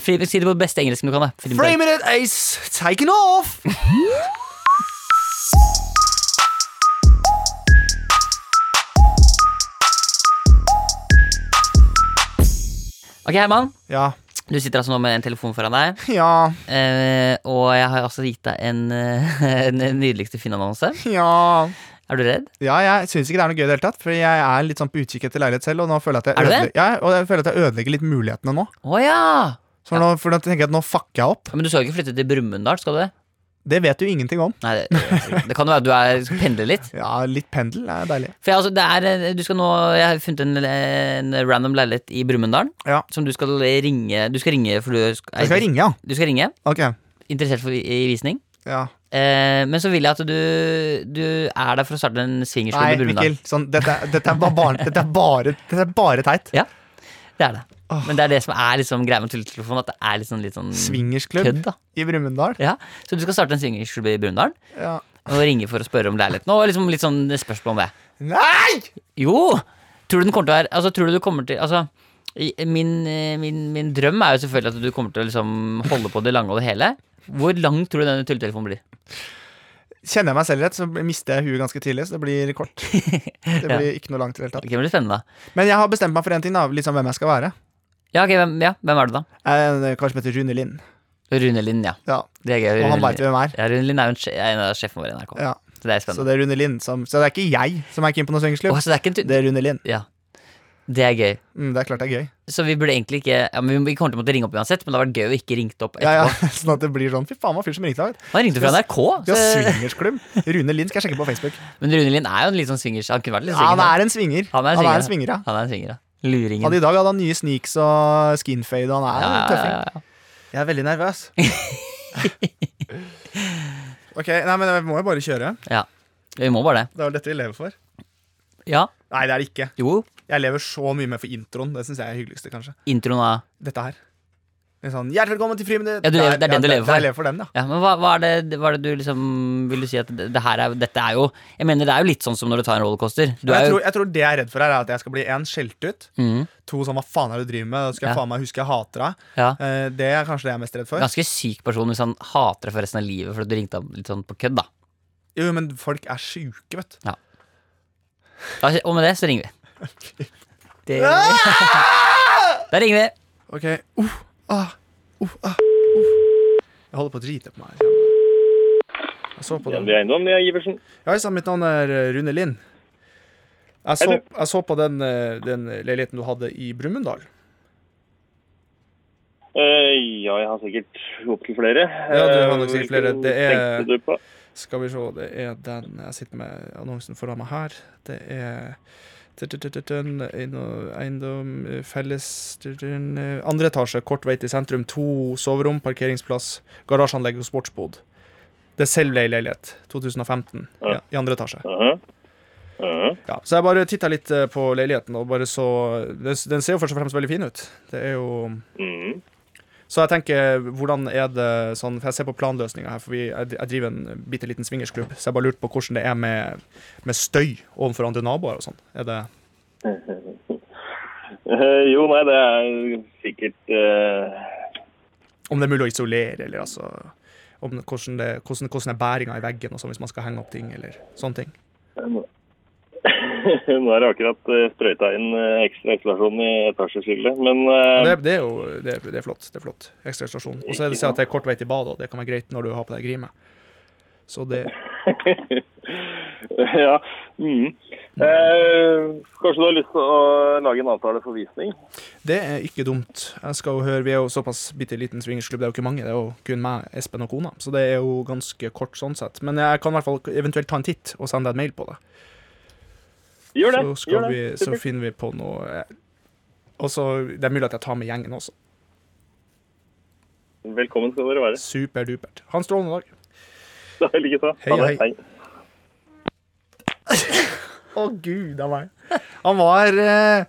Speaker 2: Friminutt Si det på beste engelsken du kan, da. Friminutt.
Speaker 3: Friminutt ace taken off!
Speaker 2: Ok, Herman.
Speaker 3: Ja.
Speaker 2: Du sitter altså nå med en telefon foran deg,
Speaker 3: Ja.
Speaker 2: eh, og jeg har altså gitt deg en, eh, en nydeligste Finn-annonse.
Speaker 3: Ja.
Speaker 2: Er du redd?
Speaker 3: Ja, jeg syns ikke det er noe gøy i det hele tatt, for jeg er litt sånn på utkikk etter leilighet selv, og nå føler jeg at jeg,
Speaker 2: Er du det?
Speaker 3: ødelegger, ja, og jeg, føler at jeg ødelegger litt mulighetene nå.
Speaker 2: Å ja!
Speaker 3: Så nå, for nå tenker jeg at nå fucker jeg opp.
Speaker 2: Men du skal jo ikke flytte til Brumunddal, skal du det?
Speaker 3: Det vet du ingenting om.
Speaker 2: Nei, det, det kan jo være du er, skal pendle litt.
Speaker 3: Ja, litt pendel er deilig.
Speaker 2: For jeg, altså, det er, eh, du skal nå, jeg har funnet en, en random leilighet i Brumunddal
Speaker 3: Ja.
Speaker 2: som du skal ringe Du skal ringe, for du er,
Speaker 3: Jeg skal ringe, ja.
Speaker 2: Du skal ringe,
Speaker 3: Ok.
Speaker 2: interessert for, i visning.
Speaker 3: Ja.
Speaker 2: Eh, men så vil jeg at du, du er der for å starte en swingersklubb
Speaker 3: Nei,
Speaker 2: i Brumunddal.
Speaker 3: Mikkel. Sånn, dette, dette, er bare, dette, er bare, dette er bare teit.
Speaker 2: Det er det. Men det er det som er liksom greia med tulletelefonen. At det er litt sånn, litt sånn kødd.
Speaker 3: Swingersklubb
Speaker 2: da
Speaker 3: i Brumunddal.
Speaker 2: ja. Så du skal starte en swingersklubb i Brumunddal
Speaker 3: Ja.
Speaker 2: og ringe for å spørre om leiligheten. Og liksom litt sånn spørsmål om det.
Speaker 3: Nei!
Speaker 2: Jo! Tror du den kommer til å være Altså, tror du du kommer til Altså, i- min, eh, min, min drøm er jo selvfølgelig at du kommer til å liksom holde på det lange og det hele. Hvor lang tror du denne tulletelefonen blir?
Speaker 3: Kjenner jeg meg selv rett, så mister jeg huet ganske tidlig, så det blir kort. Det blir ikke noe langt i det
Speaker 2: Ok,
Speaker 3: hele tatt.
Speaker 2: men det blir spennende da
Speaker 3: Men jeg har bestemt meg for én ting, da. Liksom hvem jeg skal være.
Speaker 2: Ja, ok, hvem, ja, hvem er det da?
Speaker 3: Eh, Kanskje heter Rune Lind.
Speaker 2: Rune Lind, ja.
Speaker 3: Ja,
Speaker 2: Det er gøy.
Speaker 3: og han
Speaker 2: Rune
Speaker 3: veit
Speaker 2: Lind.
Speaker 3: jo hvem er.
Speaker 2: Ja, Rune Lind er jo en, sje- er en av sjefene våre i NRK.
Speaker 3: Ja.
Speaker 2: Så det er
Speaker 3: Så
Speaker 2: spennende.
Speaker 3: det er Rune Lind som Så det er ikke jeg som er keen på noe
Speaker 2: Åh,
Speaker 3: swingersklubb.
Speaker 2: så det er ikke en tu-
Speaker 3: Det er Rune Lind.
Speaker 2: Ja. Det er gøy.
Speaker 3: Mm, det er klart det er gøy.
Speaker 2: Så vi burde egentlig ikke ja, men Vi kommer til å måtte ringe opp uansett, men det hadde vært gøy å ikke ringe opp etterpå. Altså-
Speaker 3: Ja, ja, sånn at det blir sånn Fy faen, hva fyr som ringte i dag.
Speaker 2: Han ringte fra NRK,
Speaker 3: Vi har
Speaker 2: så,
Speaker 3: swingersklubb. Rune Lind skal jeg sjekke på Facebook.
Speaker 2: men Rune Lind er jo en litt sånn swingers. Han kunne vært litt
Speaker 3: Ja, han
Speaker 2: swinger.
Speaker 3: er en swinger.
Speaker 2: Han er en swinger,
Speaker 3: swinger, ja.
Speaker 2: han er en swinger, ja. Luringen.
Speaker 3: Hadde I dag hadde han nye sneaks og skinfade, og han er
Speaker 2: Ja,
Speaker 3: en
Speaker 2: ja,
Speaker 3: tøffing.
Speaker 2: ja, ja.
Speaker 3: Jeg er veldig nervøs. ok, nei, men vi må jo bare kjøre.
Speaker 2: ja. Vi må bare det.
Speaker 3: Det er jo dette vi lever for.
Speaker 2: Ja.
Speaker 3: Nei, det er det ikke.
Speaker 2: Jo.
Speaker 3: Jeg lever så mye mer for introen. Det syns jeg er hyggeligste, kanskje.
Speaker 2: Introen av
Speaker 3: Dette her. Det er sånn, Hjertelig velkommen til Friminutt!
Speaker 2: Ja, du lever- det er den du lever for.
Speaker 3: Jeg lever for den, ja.
Speaker 2: Ja, men hva, hva, er det, hva er det du liksom Vil du si at det, det her er, dette er jo Jeg mener det er jo litt sånn som når du tar en rollercoaster. Du
Speaker 3: jeg,
Speaker 2: er jo
Speaker 3: tror, jeg tror det jeg er redd for her, er at jeg skal bli en skjelt ut.
Speaker 2: Mhm.
Speaker 3: To sånn hva faen er det du driver med? Skal jeg
Speaker 2: Ja.
Speaker 3: faen meg huske jeg hater deg?
Speaker 2: ja,
Speaker 3: Eh, det er kanskje det jeg er mest redd for.
Speaker 2: ganske syk person hvis han hater deg for resten av livet fordi du ringte ham litt sånn på kødd, da.
Speaker 3: Jo, men folk er sjuke, vet du.
Speaker 2: Da- Og med det så ringer vi. Det,
Speaker 3: Ah!
Speaker 2: da ringer vi.
Speaker 3: Ok. Uff, ah, uff, ah, uff. Jeg holder på å drite på meg. Jeg så på den.
Speaker 5: Vennlig eiendom, det er Giversen.
Speaker 3: Ja, sann, mitt navn er eh, Rune Lind. Jeg så, jeg så på den, eh, den leiligheten du hadde i Brumunddal.
Speaker 5: Eh, ja, jeg har sikkert opptil flere. Eh,
Speaker 3: Ja, du har nok sikkert flere.
Speaker 5: Hvilken
Speaker 3: Det er-
Speaker 5: tenkte du på?
Speaker 3: Skal vi se, det er den Jeg sitter med annonsen foran meg her. Det er tøtøtøtøtøn, eiendom- Eiendom, eh, felles tøtøtøn, eh, Andre etasje, kort vei til sentrum. To soverom, parkeringsplass, garasjeanlegg og sportsbod. Det er selvleid leilighet. 2015. Ja, I andre etasje.
Speaker 5: Aha. Aha.
Speaker 3: Ja, så jeg bare titta litt eh, på leiligheten, og bare så Den, den ser jo først og fremst veldig fin ut. Det er jo
Speaker 5: Mhm.
Speaker 3: så jeg tenker, hvordan er det sånn For jeg ser på planløsninga her, for vi, jeg, jeg driver en bitte liten swingersklubb. Så jeg bare lurte på hvordan det er med, med støy overfor andre naboer og sånn. Er det
Speaker 5: Eh, jo, nei, det er sikkert eh,
Speaker 3: Om det er mulig å isolere, eller altså om hvordan, det, hvordan, hvordan er bæringa i veggen og sånn, hvis man skal henge opp ting, eller sånne ting.
Speaker 5: Nå er det akkurat eh, sprøyta inn eh, ekstra isolasjon i etasjeskillet, men eh,
Speaker 3: Det, det er jo det er, det er flott. det er flott. Ekstra stasjon. Og så er det sånn at det er kort vei til badet, og det kan være greit når du har på deg grime. Så det
Speaker 5: Ja. mhm. Eh, kanskje du har lyst til å lage en avtale for visning?
Speaker 3: Det er ikke dumt. Jeg skal jo høre, Vi er jo såpass bitte liten swingersklubb, det er jo ikke mange. Det er jo kun meg, Espen og kona. Så det er jo ganske kort sånn sett. Men jeg kan i hvert fall eventuelt ta en titt og sende deg en mail på det.
Speaker 5: Gjør det.
Speaker 3: Så, skal
Speaker 5: gjør
Speaker 3: vi,
Speaker 5: det.
Speaker 3: så finner vi på noe eh, Og så Det er mulig at jeg tar med gjengen også.
Speaker 5: Velkommen skal dere være.
Speaker 3: Superdupert. Ha en strålende dag.
Speaker 5: Det er like så.
Speaker 3: Hei,
Speaker 5: Ha det.
Speaker 3: hei. Å, gud a meg. Han var eh,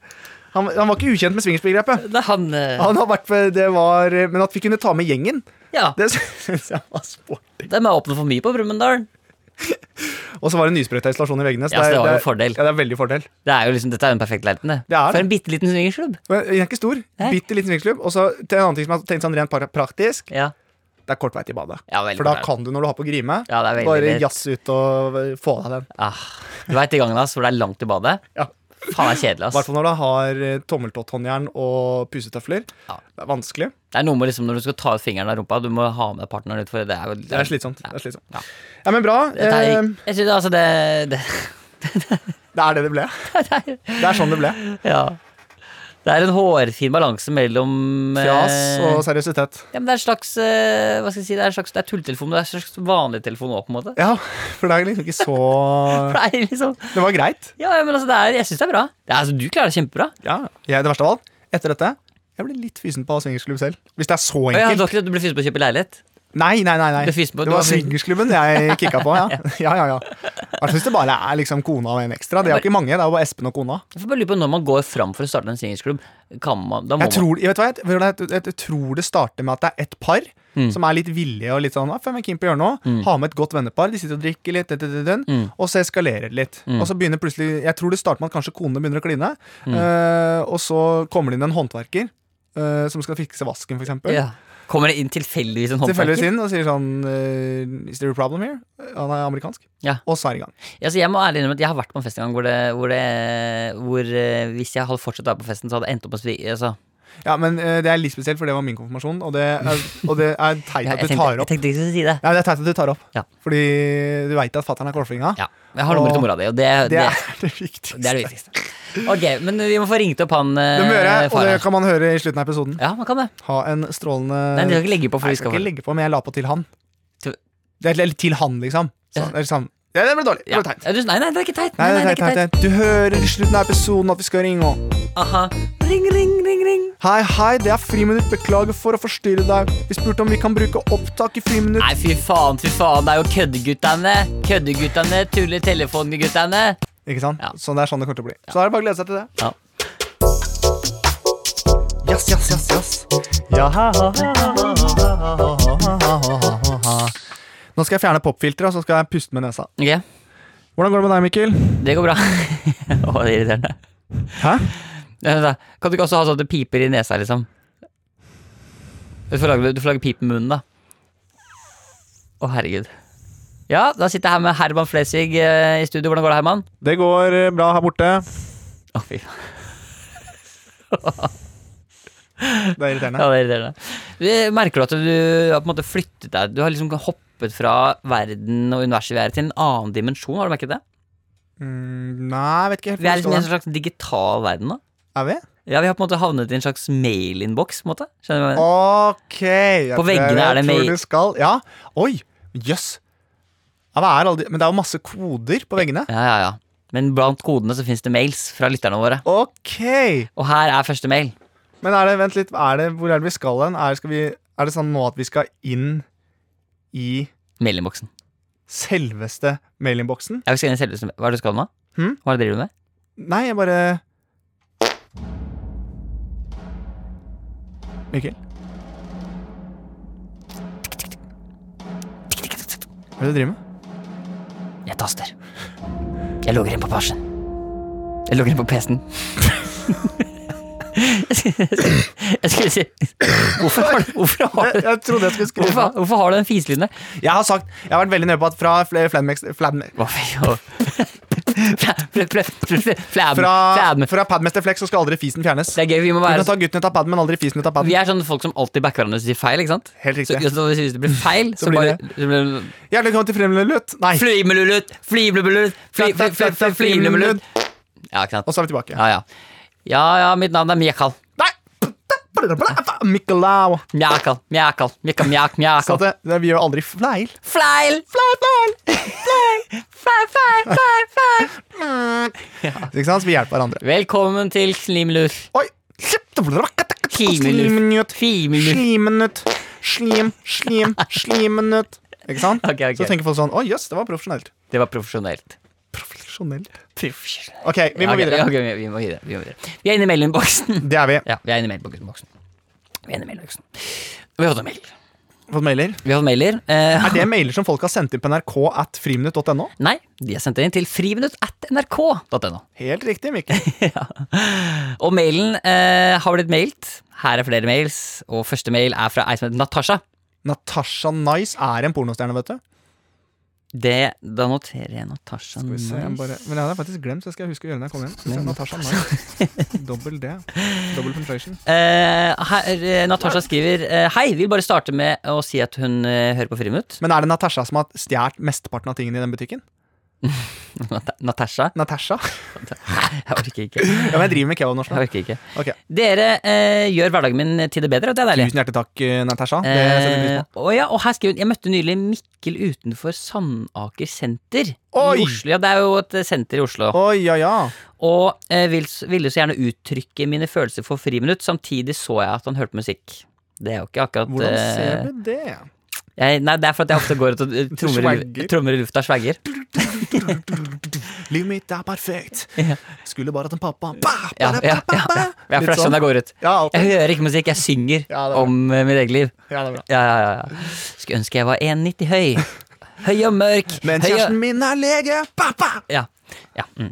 Speaker 3: han, han var ikke ukjent med swingersbegrepet.
Speaker 2: Det er han eh,
Speaker 3: Han har vært med, det var, eh, Men at vi kunne ta med gjengen,
Speaker 2: Ja.
Speaker 3: det syns jeg var sporty.
Speaker 2: De er åpne for mye på Brumunddal.
Speaker 3: Og så var det nysprøyta isolasjon i veggene.
Speaker 2: Ja, så det var jo fordel.
Speaker 3: Ja, det er veldig fordel.
Speaker 2: Det er jo liksom, dette er jo en perfekt leiligheten, det.
Speaker 3: Det er
Speaker 2: For
Speaker 3: det.
Speaker 2: en bitte liten swingersklubb.
Speaker 3: Men Den er ikke stor.
Speaker 2: Nei.
Speaker 3: Bitte liten svingklubb. Og så til en annen ting som jeg har tenkt sånn rent pra- praktisk,
Speaker 2: Ja.
Speaker 3: det er kort vei til badet.
Speaker 2: Ja, veldig
Speaker 3: For da
Speaker 2: bra.
Speaker 3: kan du, når du har på grime,
Speaker 2: Ja, det er veldig
Speaker 3: bare
Speaker 2: lett.
Speaker 3: jazze ut og eh, få deg den.
Speaker 2: Ah, du veit de gangene ass, hvor det er langt til badet?
Speaker 3: Ja.
Speaker 2: Faen, det er kjedelig,
Speaker 3: I
Speaker 2: ass.
Speaker 3: hvert fall når du har eh, tommeltotthåndjern og pusetøfler.
Speaker 2: Ja.
Speaker 3: Det er vanskelig.
Speaker 2: Det er noe med liksom når du skal ta ut fingeren av rumpa, du må ha med partneren ut, for det er jo
Speaker 3: Det er slitsomt.
Speaker 2: Ja.
Speaker 3: Det er slitsomt.
Speaker 2: Ja.
Speaker 3: Ja. men bra.
Speaker 2: Dette er,
Speaker 3: Eh,
Speaker 2: jeg synes, altså, det, det
Speaker 3: Det er det det ble. Det er sånn det ble.
Speaker 2: Ja. Det er en hårfin balanse mellom eh,
Speaker 3: Fjas og seriøsitet.
Speaker 2: ja, men Det er en slags eh, Hva skal jeg si Det er en slags Det er tulltelefon, men det er en slags vanlig telefon òg, på en måte.
Speaker 3: Ja, for det er liksom ikke så
Speaker 2: For det er liksom
Speaker 3: Det var greit.
Speaker 2: Ja, men altså, det er Jeg syns det er bra. Det er, altså, du klarer det kjempebra.
Speaker 3: Jeg, det verste av alt, etter dette jeg blir litt fysen på swingersklubb selv. Hvis det er så
Speaker 2: Å, ja, du
Speaker 3: enkelt.
Speaker 2: har ikke du ble fysen på å kjøpe leilighet?
Speaker 3: Nei, nei, nei. nei.
Speaker 2: Du er fysen på-
Speaker 3: Det
Speaker 2: du
Speaker 3: var
Speaker 2: var-
Speaker 3: swingersklubben jeg kikka på, ja. ja, ja, ja. Hvert hvis det bare er liksom kona og en ekstra. Det er jo ikke mange. Det er jo bare Espen og kona.
Speaker 2: Jeg får bare lure på Når man går fram for å starte en singelsklubb, kan man Da må
Speaker 3: Jeg tror, jeg vet hva, jeg, vet du hva, jeg, jeg tror det starter med at det er et par
Speaker 2: Mm.
Speaker 3: som er litt villige og litt sånn ah, Fem er keen på å gjøre noe. Ha med et godt vennepar. De sitter og drikker litt, dun, dun, dun,
Speaker 2: Mm.
Speaker 3: dun, og så eskalerer det litt. Og så begynner plutselig Jeg tror det starter med at kanskje konene begynner å kline,
Speaker 2: Mm.
Speaker 3: eh, og så kommer det inn en håndverker. eh, som skal fikse vasken,
Speaker 2: man
Speaker 3: for eksempel.
Speaker 2: ja. Kommer det inn tilfeldigvis en håndverker?
Speaker 3: Tilfeldigvis inn og sier sånn eh, Is there a problem here? Han er amerikansk.
Speaker 2: Ja.
Speaker 3: Og så er det i gang.
Speaker 2: Ja, så jeg må ærlig innrømme at jeg har vært på en fest en gang hvor, det, hvor, det, hvor eh, hvis jeg hadde fortsatt å være på festen, så hadde jeg endt opp med å svi- altså,
Speaker 3: Ja, men eh, det er litt spesielt, for det var min konfirmasjon, og det er, og det er teit
Speaker 2: jeg, jeg,
Speaker 3: at du
Speaker 2: tenkte,
Speaker 3: tar
Speaker 2: jeg
Speaker 3: opp.
Speaker 2: tenkte ikke jeg skulle si det.
Speaker 3: Ja, det er teit at du tar opp.
Speaker 2: Ja.
Speaker 3: Fordi du veit at fatter'n er korsfinga.
Speaker 2: Ja, men Jeg har nummeret til mora di, og det,
Speaker 3: Det
Speaker 2: det,
Speaker 3: er det viktigste.
Speaker 2: det er det viktigste. Ok, Men vi må få ringt opp han eh,
Speaker 3: Det må gjøre, og
Speaker 2: faren
Speaker 3: det
Speaker 2: her.
Speaker 3: kan man høre i slutten av episoden.
Speaker 2: Ja, man kan det.
Speaker 3: Ha en strålende
Speaker 2: Nei, det skal ikke legge på. for
Speaker 3: Nei,
Speaker 2: vi
Speaker 3: jeg skal
Speaker 2: skal
Speaker 3: ikke
Speaker 2: få
Speaker 3: legge på, men jeg la på til han.
Speaker 2: Til-
Speaker 3: Det er litt til han, liksom. Så,
Speaker 2: Ja.
Speaker 3: det, er liksom ja, det ble dårlig. Det
Speaker 2: ja.
Speaker 3: ble teit.
Speaker 2: Ja, du, nei, nei, det er ikke teit.
Speaker 3: Nei,
Speaker 2: Nei,
Speaker 3: det er
Speaker 2: nei,
Speaker 3: teit, teit, teit. Du hører i slutten av episoden at vi skal ringe. og-
Speaker 2: Aha. Ring, ring, ring, ring.
Speaker 3: Hei, hei, det er friminutt. Beklager for å forstyrre deg. Vi spurte om vi kan bruke opptak i friminutt.
Speaker 2: Nei, fy faen, fy faen. Det er jo køddeguttene. Køddeguttene tuller telefonguttene.
Speaker 3: Ikke sant?
Speaker 2: Ja.
Speaker 3: Så det er sånn det kommer til å bli. Så da er det bare å glede seg til det.
Speaker 2: Ja.
Speaker 3: Yes, yes, yes, yes. Ja, ha, ha, ha, ha, ha, ha, ha. Nå skal jeg fjerne popfilteret, og så skal jeg puste med nesa.
Speaker 2: Ok,
Speaker 3: Hvordan går det med deg, Mikkel?
Speaker 2: det går bra. Å, det er irriterende.
Speaker 3: Hæ?
Speaker 2: Ja, vent da. Kan du ikke også ha sånn at det piper i nesa, liksom? Du får lage, du får lage pip med munnen, da. Å, herregud. Ja, da sitter jeg her med Herman Flesvig eh, i studio. Hvordan går det, Herman?
Speaker 3: Det går eh, bra her borte.
Speaker 2: Å, fy faen.
Speaker 3: Det er
Speaker 2: Ja,
Speaker 3: irriterende.
Speaker 2: det er irriterende. Du- Merker du at du har på en måte flyttet deg? Du har liksom hoppet fra verden og universet vi er i, til en annen dimensjon. Har du merket det?
Speaker 3: Mm, nei, jeg vet ikke helt
Speaker 2: Vi er liksom
Speaker 3: hvor
Speaker 2: i
Speaker 3: jeg
Speaker 2: en
Speaker 3: skal.
Speaker 2: slags digital verden nå.
Speaker 3: Er vi?
Speaker 2: Ja, vi har på en måte havnet i en slags mailinnboks, på en måte. Skjønner du hva jeg mener?
Speaker 3: Ok. jeg
Speaker 2: På
Speaker 3: tror-
Speaker 2: veggene er det
Speaker 3: jeg
Speaker 2: med-
Speaker 3: tror du skal. Ja. Oi. Jøss. Ja, hva er alle de Men det er jo masse koder på veggene.
Speaker 2: Ja, ja, ja. Men blant kodene så fins det mails fra lytterne våre.
Speaker 3: Ok.
Speaker 2: Og her er første mail.
Speaker 3: Men er det, vent litt, er det, hvor er det vi skal hen? Er, skal vi, er det sånn nå at vi skal inn i
Speaker 2: Mailinnboksen.
Speaker 3: selveste mailinnboksen?
Speaker 2: Jeg vil skrive inn selve som- Hva er det du skal nå?
Speaker 3: Hm?
Speaker 2: Hva er det du driver du med?
Speaker 3: Nei, jeg bare Mikkel? Hva er det du driver med?
Speaker 2: Jeg taster. Jeg logger inn på pasjen. Jeg logger inn på PC-en. Jeg skulle- jeg skulle si Hvorfor har du, hvorfor har
Speaker 3: Jeg,
Speaker 2: du,
Speaker 3: jeg trodde jeg skulle skrive
Speaker 2: hvorfor, hvorfor har du den fiselyden der?
Speaker 3: Jeg har sagt, jeg har vært veldig nøye på at fra fl- Fladmex Fladme-
Speaker 2: Hva for- Fla- fla- fla- fla- fla- flam-
Speaker 3: Fra,
Speaker 2: flam.
Speaker 3: fra Padmaster Flex så skal aldri fisen fjernes.
Speaker 2: Det er gøy, vi må
Speaker 3: Du
Speaker 2: være
Speaker 3: kan ta gutten ut av paden, men aldri fisen ut av
Speaker 2: Vi
Speaker 3: paden.
Speaker 2: er sånne folk som alltid backer hverandre hvis de sier feil, ikke sant?
Speaker 3: Helt
Speaker 2: Så,
Speaker 3: riktig.
Speaker 2: så hvis det blir feil, så,
Speaker 3: blir
Speaker 2: bare
Speaker 3: det-
Speaker 2: så blir det
Speaker 3: Hjertelig velkommen til Fremlelutt. Nei.
Speaker 2: Flimmelulut, flimmelulut, fli- fli- fli- fli- flimmelulut. Ja, ikke sant?
Speaker 3: Og så er vi tilbake.
Speaker 2: Ja, ja. Ja, ja, mitt navn er Mjekal.
Speaker 3: Mikalau.
Speaker 2: Mjekal, Mjekal, Mjekal, Mjek, Mjekal.
Speaker 3: Sånn det, det, vi gjør aldri fleil.
Speaker 2: Fleil, fleil, fleil, fleil, fleil, fleil, fleil, fleil.
Speaker 3: Ikke sant? Så vi hjelper hverandre.
Speaker 2: Velkommen til Slimlur.
Speaker 3: Oi! Slimminutt.
Speaker 2: Flimmelulut.
Speaker 3: Slimminutt. Slim, slim, slimminutt. Ikke sant?
Speaker 2: Ok, ok.
Speaker 3: Så tenker folk sånn Å, jøss, det var profesjonelt.
Speaker 2: Det var profesjonelt.
Speaker 3: Profesjonelt.
Speaker 2: Profesjonelt.
Speaker 3: Ok, vi
Speaker 2: Ja,
Speaker 3: må
Speaker 2: ok,
Speaker 3: videre.
Speaker 2: ja, ok, vi må videre. Vi må videre. Vi er inne i mailinnboksen.
Speaker 3: Det er vi.
Speaker 2: Ja, vi er inne i mailboksen. Vi er inne i mailboksen. Vi har fått en mail.
Speaker 3: Fått mailer?
Speaker 2: Vi har fått mailer. Eh,
Speaker 3: Er det mailer som folk har sendt inn på nrk at friminutt.no?
Speaker 2: nei, de har sendt det inn til friminutt at nrk.no.
Speaker 3: Helt riktig, Mikkel.
Speaker 2: Og mailen eh, har blitt mailt. Her er flere mails, og første mail er fra ei som heter Natasha.
Speaker 3: Natasha Nice er en pornostjerne, vet du.
Speaker 2: Det, da noterer jeg Natasha
Speaker 3: Skal vi se, jeg bare, men jeg hadde faktisk glemt, så jeg skal huske å gjøre det når jeg kommer hjem. Skal vi se, Natasha Nice. Dobbel D. Double penetration.
Speaker 2: Eh, her, eh, Natasha skriver eh, Hei, vil bare starte med å si at hun eh, hører på Friminutt.
Speaker 3: Men er det Natasha som har stjålet mesteparten av tingene i den butikken?
Speaker 2: Nat Natasha.
Speaker 3: Natasha?
Speaker 2: Jeg orker ikke. Jeg
Speaker 3: Ja, men jeg driver med kebabnorsk nå.
Speaker 2: orker ikke.
Speaker 3: Ok.
Speaker 2: Dere eh, gjør hverdagen min til det bedre, og det er deilig.
Speaker 3: Tusen hjertelig takk, eh, Natasha. Det setter vi pris
Speaker 2: Eh,
Speaker 3: på.
Speaker 2: og, ja, og her skriver hun Jeg møtte nylig Mikkel utenfor Sandaker senter
Speaker 3: Oi!
Speaker 2: i Oslo. Ja, det er jo et eh, senter i Oslo.
Speaker 3: Oi, ja, ja.
Speaker 2: Og eh, vil, ville så gjerne uttrykke mine følelser for friminutt. Samtidig så jeg at han hørte musikk. Det er jo ikke akkurat
Speaker 3: Hvordan
Speaker 2: eh,
Speaker 3: ser du det?
Speaker 2: jeg, Nei, det er for at jeg ofte går ut og eh, trommer, i lu-
Speaker 3: Swagger.
Speaker 2: trommer i lufta og swagger.
Speaker 3: Livet mitt er perfekt.
Speaker 2: Ja.
Speaker 3: Skulle bare hatt en pappa. Ba, ba,
Speaker 2: Ja,
Speaker 3: da, ba,
Speaker 2: ja,
Speaker 3: ba,
Speaker 2: ja, ja.
Speaker 3: ba.
Speaker 2: Jeg
Speaker 3: Litt
Speaker 2: flasher
Speaker 3: sånn.
Speaker 2: når jeg går ut.
Speaker 3: Ja, alltid.
Speaker 2: Jeg hører ikke musikk, jeg synger
Speaker 3: Ja, det er bra.
Speaker 2: om eh, mitt eget liv.
Speaker 3: Ja, det er bra.
Speaker 2: Ja, ja, ja, ja. Skulle ønske jeg var 1,90 høy. Høy og mørk.
Speaker 3: Men
Speaker 2: høy og-
Speaker 3: kjæresten min er lege! Pappa!
Speaker 2: Ja, ja mm.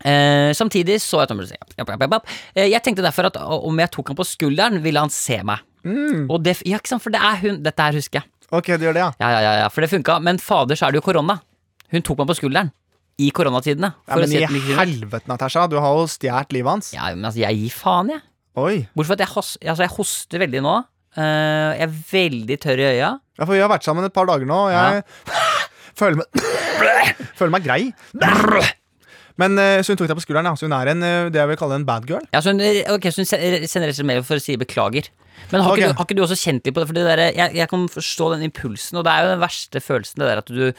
Speaker 2: Eh, Samtidig så jeg Tom Cruise. Japp, japp, japp, japp. Eh, Jeg tenkte derfor at om jeg tok han på skulderen, ville han se meg.
Speaker 3: Mm.
Speaker 2: Og det, ja, ikke sant, for det er hun Dette her husker jeg.
Speaker 3: Ok, du gjør det, ja.
Speaker 2: Ja, ja, ja, ja For det funka. Men fader, så er det jo korona. Hun tok meg på skulderen. I koronatidene.
Speaker 3: ja
Speaker 2: for å
Speaker 3: men
Speaker 2: se
Speaker 3: i
Speaker 2: at den ikke kunne-
Speaker 3: helvete, Natasha. Du har jo stjålet livet hans.
Speaker 2: ja, men altså, jeg gir faen, jeg.
Speaker 3: Oi.
Speaker 2: Bortsett fra at jeg, hos, altså, jeg hoster veldig nå. Eh, jeg er veldig tørr i øya.
Speaker 3: Ja, for vi har vært sammen et par dager nå, og jeg føler meg Føler meg grei. Men eh, Så hun tok deg på skulderen, ja. Så hun er en, eh, det jeg vil kalle en bad girl.
Speaker 2: Ja, så hun, eh, ok, så hun se- sender rett og slett mail for å si beklager. Men har,
Speaker 3: Ok.
Speaker 2: ikke du, har ikke du også kjent litt på det? For det der, eh, jeg, jeg kan forstå den impulsen, og det er jo den verste følelsen. Det der at du,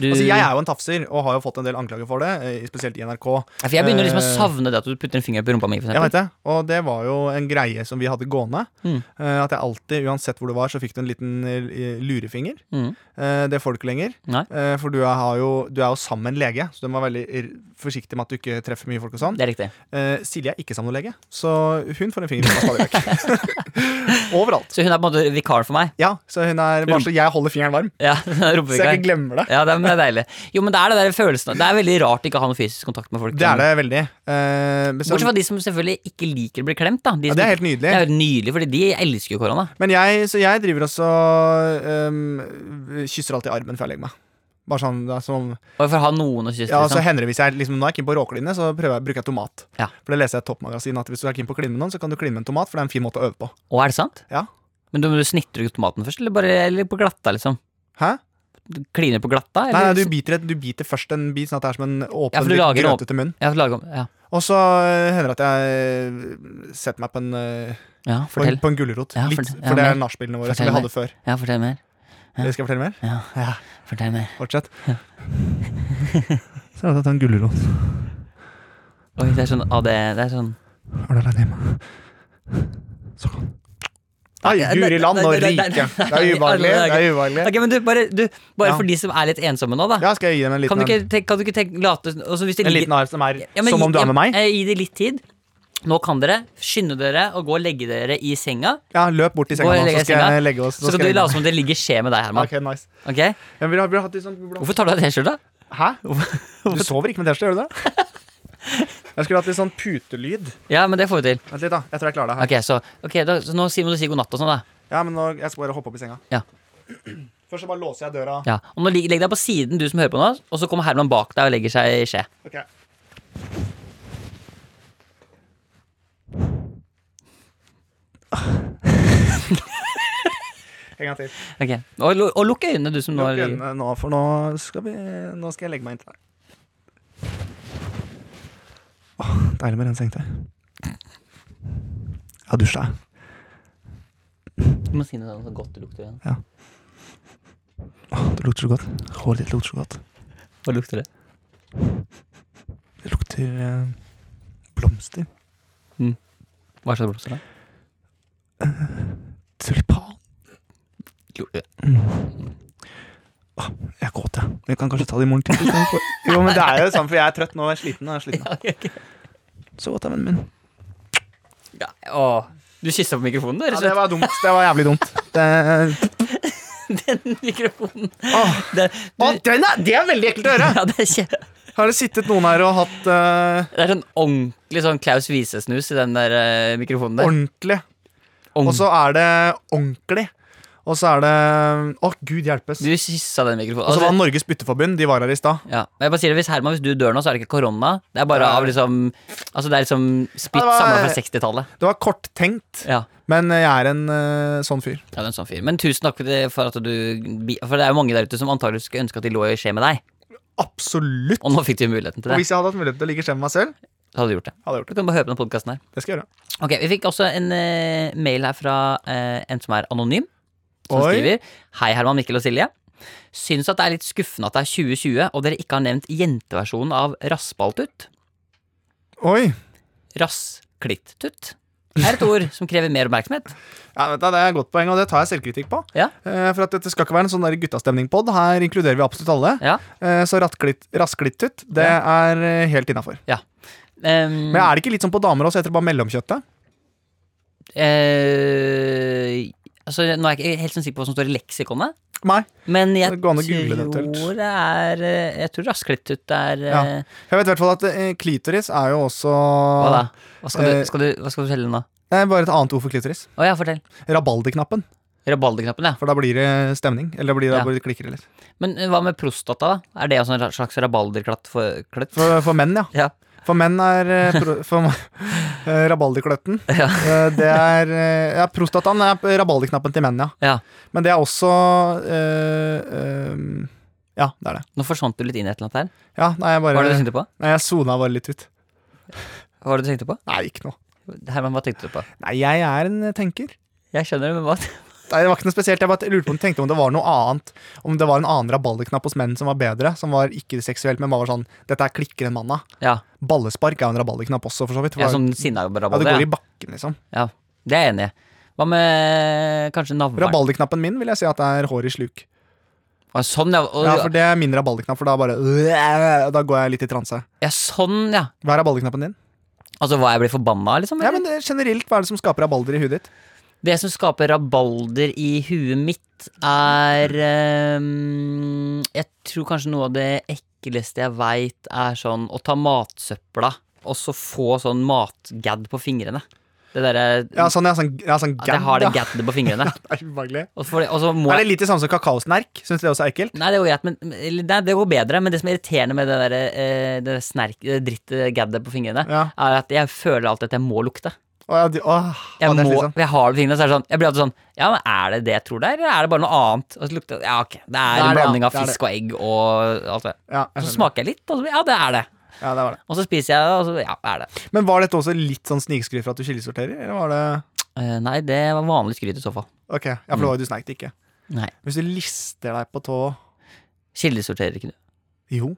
Speaker 2: du
Speaker 3: Altså, Jeg er jo en tafser, og har jo fått en del anklager for det, eh, spesielt i NRK.
Speaker 2: Ja, For jeg begynner liksom å
Speaker 3: Eh,
Speaker 2: savne det at du putter en finger opp i rumpa mi. For
Speaker 3: Jeg vet
Speaker 2: eksempel.
Speaker 3: det, og det var jo en greie som vi hadde gående.
Speaker 2: Mm.
Speaker 3: Eh, At jeg alltid, uansett hvor du var, så fikk du en liten eh, lurefinger.
Speaker 2: Mm.
Speaker 3: Eh, Det får du ikke lenger.
Speaker 2: Nei.
Speaker 3: Eh, For du er, har jo, du er jo sammen med en lege, så du må være veldig r- forsiktig med at du ikke treffer mye folk. og sånn
Speaker 2: det er riktig.
Speaker 3: Eh, Silje er ikke sammen med noen lege, så hun får en finger i rumpa stadig vekk. Overalt.
Speaker 2: Så hun er på en måte vikar for meg.
Speaker 3: Ja, så hun er bare så jeg holder fingeren varm,
Speaker 2: Ja,
Speaker 3: så jeg
Speaker 2: rumpevikar.
Speaker 3: ikke glemmer det.
Speaker 2: Ja, det er, men det er deilig. Jo, men det er det der følelsen Det er veldig rart ikke å ha noe fysisk kontakt med folk.
Speaker 3: Det er det veldig. Eh, men så-
Speaker 2: Bortsett fra de som selvfølgelig ikke liker å bli klemt, da. De
Speaker 3: ja,
Speaker 2: som
Speaker 3: det er
Speaker 2: ikke-
Speaker 3: helt nydelig.
Speaker 2: det er jo nydelig, fordi de elsker jo korona.
Speaker 3: Men jeg, så jeg driver også um, Kysser alltid armen før jeg legger meg. Bare sånn, det er som,
Speaker 2: Og for å ha noen å kysse,
Speaker 3: ja,
Speaker 2: liksom.
Speaker 3: så hender det hvis jeg liksom, Nå er jeg keen på råkline, så prøver jeg, bruker jeg tomat.
Speaker 2: Ja.
Speaker 3: For det leser jeg i Toppmagasinet at hvis du er keen på å kline med noen, så kan du kline med en tomat, for det er en fin måte å øve på.
Speaker 2: Å, er det sant?
Speaker 3: Ja.
Speaker 2: Men du, men du snitter ut tomaten først, eller bare eller på glatta, liksom?
Speaker 3: Hæ?
Speaker 2: Du kliner på glatta?
Speaker 3: Nei,
Speaker 2: Eller?
Speaker 3: nei du, biter et, du biter først en bit, sånn at det er som en
Speaker 2: Ja, for
Speaker 3: åpen,
Speaker 2: du
Speaker 3: litt
Speaker 2: lager en åp-
Speaker 3: grøtete munn.
Speaker 2: Ja, lag om Ja,
Speaker 3: Og så eh, hender det at jeg setter meg på en, eh,
Speaker 2: ja
Speaker 3: på en,
Speaker 2: fortell.
Speaker 3: på en gulrot.
Speaker 2: Ja,
Speaker 3: Litt,
Speaker 2: fortell- ja,
Speaker 3: for det
Speaker 2: mer.
Speaker 3: er nachspielene våre
Speaker 2: Fortell
Speaker 3: som vi hadde før.
Speaker 2: Ja, fortell mer. Ja.
Speaker 3: Skal jeg fortelle mer?
Speaker 2: Ja,
Speaker 3: Ja,
Speaker 2: fortell mer.
Speaker 3: fortsett. Så har jeg tatt en gulrot.
Speaker 2: Oi, det er sånn AD Det er sånn
Speaker 3: Er du alene hjemme? Sånn. Nei,
Speaker 2: Nei,
Speaker 3: guri land og
Speaker 2: nei, nei, nei,
Speaker 3: rike.
Speaker 2: nei,
Speaker 3: Det er ubehagelig.
Speaker 2: nei, nei,
Speaker 3: Det er ubehagelig.
Speaker 2: Ok, men du, bare, du, bare
Speaker 3: Ja.
Speaker 2: for de som er litt ensomme nå, da.
Speaker 3: Ja, skal jeg gi dem en
Speaker 2: Kan du
Speaker 3: liten
Speaker 2: ikke,
Speaker 3: en?
Speaker 2: tenke, kan du ikke tenke, late også hvis det
Speaker 3: En
Speaker 2: ligger-
Speaker 3: liten arv som er
Speaker 2: Ja, men
Speaker 3: som
Speaker 2: gi-
Speaker 3: om du er med
Speaker 2: ja,
Speaker 3: meg?
Speaker 2: eh, Gi det litt tid. Nå kan dere skynde dere og gå og legge dere i senga.
Speaker 3: Ja, løp bort til senga,
Speaker 2: Gå og
Speaker 3: nå,
Speaker 2: legg deg
Speaker 3: så
Speaker 2: i
Speaker 3: skal
Speaker 2: senga.
Speaker 3: jeg legge oss.
Speaker 2: Så skal du late som om det ligger skje med deg, Herman.
Speaker 3: Ok, nice.
Speaker 2: Ok?
Speaker 3: Jeg vil ha, vil ha hatt litt sånn blå-
Speaker 2: Hvorfor tar du av deg T-skjorta?
Speaker 3: Hæ? Du sover ikke med T-skjorte, gjør du det? Jeg skulle hatt litt sånn putelyd.
Speaker 2: Ja, men det får vi til.
Speaker 3: Vent litt, da. Jeg tror jeg klarer det her.
Speaker 2: Ok, så, ok, da, så nå sier- må du si god natt og sånn, da.
Speaker 3: Ja, men nå, Jeg skal bare hoppe opp i senga.
Speaker 2: Ja.
Speaker 3: Først så bare låser jeg døra.
Speaker 2: Ja, og nå ligger, Legg deg på siden, du som hører på nå, og så kommer Herman bak deg og legger seg i skje.
Speaker 3: Ok. En gang til.
Speaker 2: Ok, Og, lu- og lukk øynene, du som nå
Speaker 3: Lukk
Speaker 2: ligger
Speaker 3: øynene nå, for nå skal, vi, nå skal jeg legge meg inntil deg. Åh, deilig med rent sengetøy. Jeg har dusja. jeg.
Speaker 2: Du må si noe sånn så godt det lukter igjen.
Speaker 3: Åh, Det lukter så godt. Håret ditt lukter så godt.
Speaker 2: Hva lukter det?
Speaker 3: Det lukter eh, blomster.
Speaker 2: Hva slags blomster? da?
Speaker 3: Tulipan.
Speaker 2: Lu-
Speaker 3: Jeg er kåt, jeg. Vi kan kanskje ta det i morgen tidlig. istedenfor. Jo, men det er jo samme, for jeg er trøtt nå og jeg er sliten. Og jeg er sliten.
Speaker 2: Ja, ok.
Speaker 3: Så godt, da, vennen min.
Speaker 2: Ja, åh. Du kyssa på mikrofonen, du. rett og
Speaker 3: Ja, det
Speaker 2: slett.
Speaker 3: var dumt. Det var jævlig dumt. Det,
Speaker 2: den mikrofonen.
Speaker 3: Åh,
Speaker 2: Det, du,
Speaker 3: Å, den er, det er veldig ekkelt å høre!
Speaker 2: ja, det, er kje,
Speaker 3: Har det sittet noen her og hatt eh,
Speaker 2: det er sånn ordentlig sånn Klaus Wiese-snus i den der eh, mikrofonen der.
Speaker 3: ordentlig?
Speaker 2: Ordentlig.
Speaker 3: Og så er det ordentlig. Og så er det Å, gud hjelpes.
Speaker 2: Du kyssa den mikrofonen. Altså,
Speaker 3: Og så var Norges Bytteforbund. De var her i stad.
Speaker 2: Ja, men jeg bare sier det, hvis Herman, hvis du dør nå, så er det ikke korona. Det er bare av liksom Altså det er liksom spytt
Speaker 3: Ja, det var-
Speaker 2: samla fra 60-tallet.
Speaker 3: Det var korttenkt,
Speaker 2: Ja,
Speaker 3: men jeg er en eh, sånn fyr.
Speaker 2: det er jo en sånn fyr. Men tusen takk for at du bi- For det er jo mange der ute som antakelig skulle ønske at de lå i skje med deg.
Speaker 3: Absolutt.
Speaker 2: Og nå fikk de muligheten til
Speaker 3: Og
Speaker 2: det.
Speaker 3: hvis jeg hadde hatt mulighet til å ligge skjemme meg selv,
Speaker 2: Så hadde du gjort det.
Speaker 3: hadde jeg gjort det.
Speaker 2: Du kan bare høre på den podkasten her.
Speaker 3: Det skal jeg gjøre.
Speaker 2: Ok, Vi fikk også en eh, mail her fra eh, en som er anonym. Som
Speaker 3: Oi.
Speaker 2: skriver Hei, Herman, Mikkel og Silje. Syns at det er litt skuffende at det er 2020, og dere ikke har nevnt jenteversjonen av Raspaltut.
Speaker 3: Oi.
Speaker 2: Rassklittutt er et ord som krever mer oppmerksomhet.
Speaker 3: Ja, vet du, Det er et godt poeng, og det tar jeg selvkritikk på.
Speaker 2: Ja.
Speaker 3: Eh, for at Dette skal ikke være en sånn der guttastemning-pod. Her inkluderer vi absolutt alle.
Speaker 2: Ja.
Speaker 3: Eh, så rattglitt- rassglittut, det er eh, helt innafor.
Speaker 2: Ehm,
Speaker 3: Men er det ikke litt sånn på damer også, heter det bare mellomkjøttet?
Speaker 2: eh, altså, nå er jeg ikke helt sånn sikker på hva som står i leksikonet,
Speaker 3: Nei.
Speaker 2: men jeg
Speaker 3: Det går an å
Speaker 2: tror
Speaker 3: google det eventuelt.
Speaker 2: det er eh, Jeg tror rassklittutt er eh,
Speaker 3: Ja. Jeg vet i hvert fall at eh, klitoris er jo også
Speaker 2: Hva da? Hva skal,
Speaker 3: Eh.
Speaker 2: du, skal du, hva skal du fortelle nå?
Speaker 3: Det er bare et annet ord for klitoris.
Speaker 2: Å ja, fortell.
Speaker 3: Rabalderknappen.
Speaker 2: Rabaldeknappen, ja.
Speaker 3: For da blir det stemning. Eller blir
Speaker 2: Ja.
Speaker 3: det, da blir det klikker litt.
Speaker 2: Men eh, hva med prostata, da? Er det også en ra- slags rabalderklatt for kløtt?
Speaker 3: For, for menn, ja.
Speaker 2: Ja.
Speaker 3: For menn er eh, pro, for, eh, rabalderkløtten.
Speaker 2: Ja.
Speaker 3: Eh, Det er eh, Ja, prostataen er rabalderknappen til menn, ja.
Speaker 2: ja.
Speaker 3: Men det er også eh, eh, Ja, det er det.
Speaker 2: Nå forsvant du litt inn i et eller annet her.
Speaker 3: Ja, nei, jeg
Speaker 2: Hva
Speaker 3: bare
Speaker 2: var det du tenkte på?
Speaker 3: Nei, jeg sona bare litt ut.
Speaker 2: Hva var det du tenkte på?
Speaker 3: Nei, ikke noe.
Speaker 2: Herman, hva tenkte du på?
Speaker 3: Nei, jeg er en eh, tenker.
Speaker 2: Jeg skjønner, men hva
Speaker 3: Nei, det var ikke noe spesielt. Jeg bare lurte på om tenkte om det var noe annet. Om det var en annen rabalderknapp hos menn som var bedre. Som var ikke seksuelt, men bare var sånn Dette er klikker en mann av.
Speaker 2: Ja,
Speaker 3: Ballespark er jo en rabalderknapp også, for så vidt.
Speaker 2: jeg er
Speaker 3: ja,
Speaker 2: sånn sinna
Speaker 3: det
Speaker 2: rabalder.
Speaker 3: går
Speaker 2: Ja,
Speaker 3: i bakken, liksom.
Speaker 2: ja. det er jeg enig i. Hva med kanskje navlen?
Speaker 3: Rabalderknappen min vil jeg si at det er hår i sluk.
Speaker 2: Å, Sånn, ja. Og,
Speaker 3: Ja, for det er min rabalderknapp, for da bare Da går jeg litt i transe.
Speaker 2: ja. Sånn, ja.
Speaker 3: Hva er rabalderknappen din?
Speaker 2: Altså hva jeg blir forbanna av, liksom? eller?
Speaker 3: Ja, men det, generelt, hva er det som skaper rabalder i huet ditt?
Speaker 2: Det som skaper rabalder i huet mitt, er ehm, Jeg tror kanskje noe av det ekleste jeg veit, er sånn å ta matsøpla og så få sånn matgadd på fingrene. Det derre
Speaker 3: Ja, sånn, ja, sånn, ja, sånn
Speaker 2: At jeg har det
Speaker 3: gadd, ja.
Speaker 2: gaddet på fingrene.
Speaker 3: Det er ubehagelig.
Speaker 2: Og, for, og så må
Speaker 3: Er
Speaker 2: jeg
Speaker 3: det litt det samme som kakaosnerk? Syns du det også er ekkelt?
Speaker 2: Nei, det går greit, men eller, nei, det går bedre. Men det som er irriterende med det der, eh, det der snerk, det drittgaddet på fingrene,
Speaker 3: Ja.
Speaker 2: er at jeg føler alltid at jeg må lukte.
Speaker 3: Å, ja, de, åh,
Speaker 2: Jeg,
Speaker 3: å, det er liksom.
Speaker 2: må,
Speaker 3: slitsomt.
Speaker 2: jeg har det på fingrene, så er det sånn Jeg blir alltid sånn Ja, men er det det jeg tror det er, eller er det bare noe annet? Og så lukter det Ja, ok. Det er,
Speaker 3: er
Speaker 2: en
Speaker 3: det, ja.
Speaker 2: blanding av
Speaker 3: Det er
Speaker 2: fisk og egg og alt det.
Speaker 3: Ja, jeg
Speaker 2: Og så
Speaker 3: skjønner.
Speaker 2: smaker jeg litt, og så blir Ja, det er det.
Speaker 3: ja, det var det.
Speaker 2: Og så spiser jeg det, og så Ja, det er det.
Speaker 3: Men var dette også litt sånn snikskryt for at du kildesorterer? Eller var det
Speaker 2: Eh, nei, det var vanlig skryt i så fall.
Speaker 3: Ok, ja, for det var jo du sneik det ikke.
Speaker 2: Mm. Nei.
Speaker 3: Hvis du lister deg på tå
Speaker 2: Kildesorterer ikke du?
Speaker 3: Jo.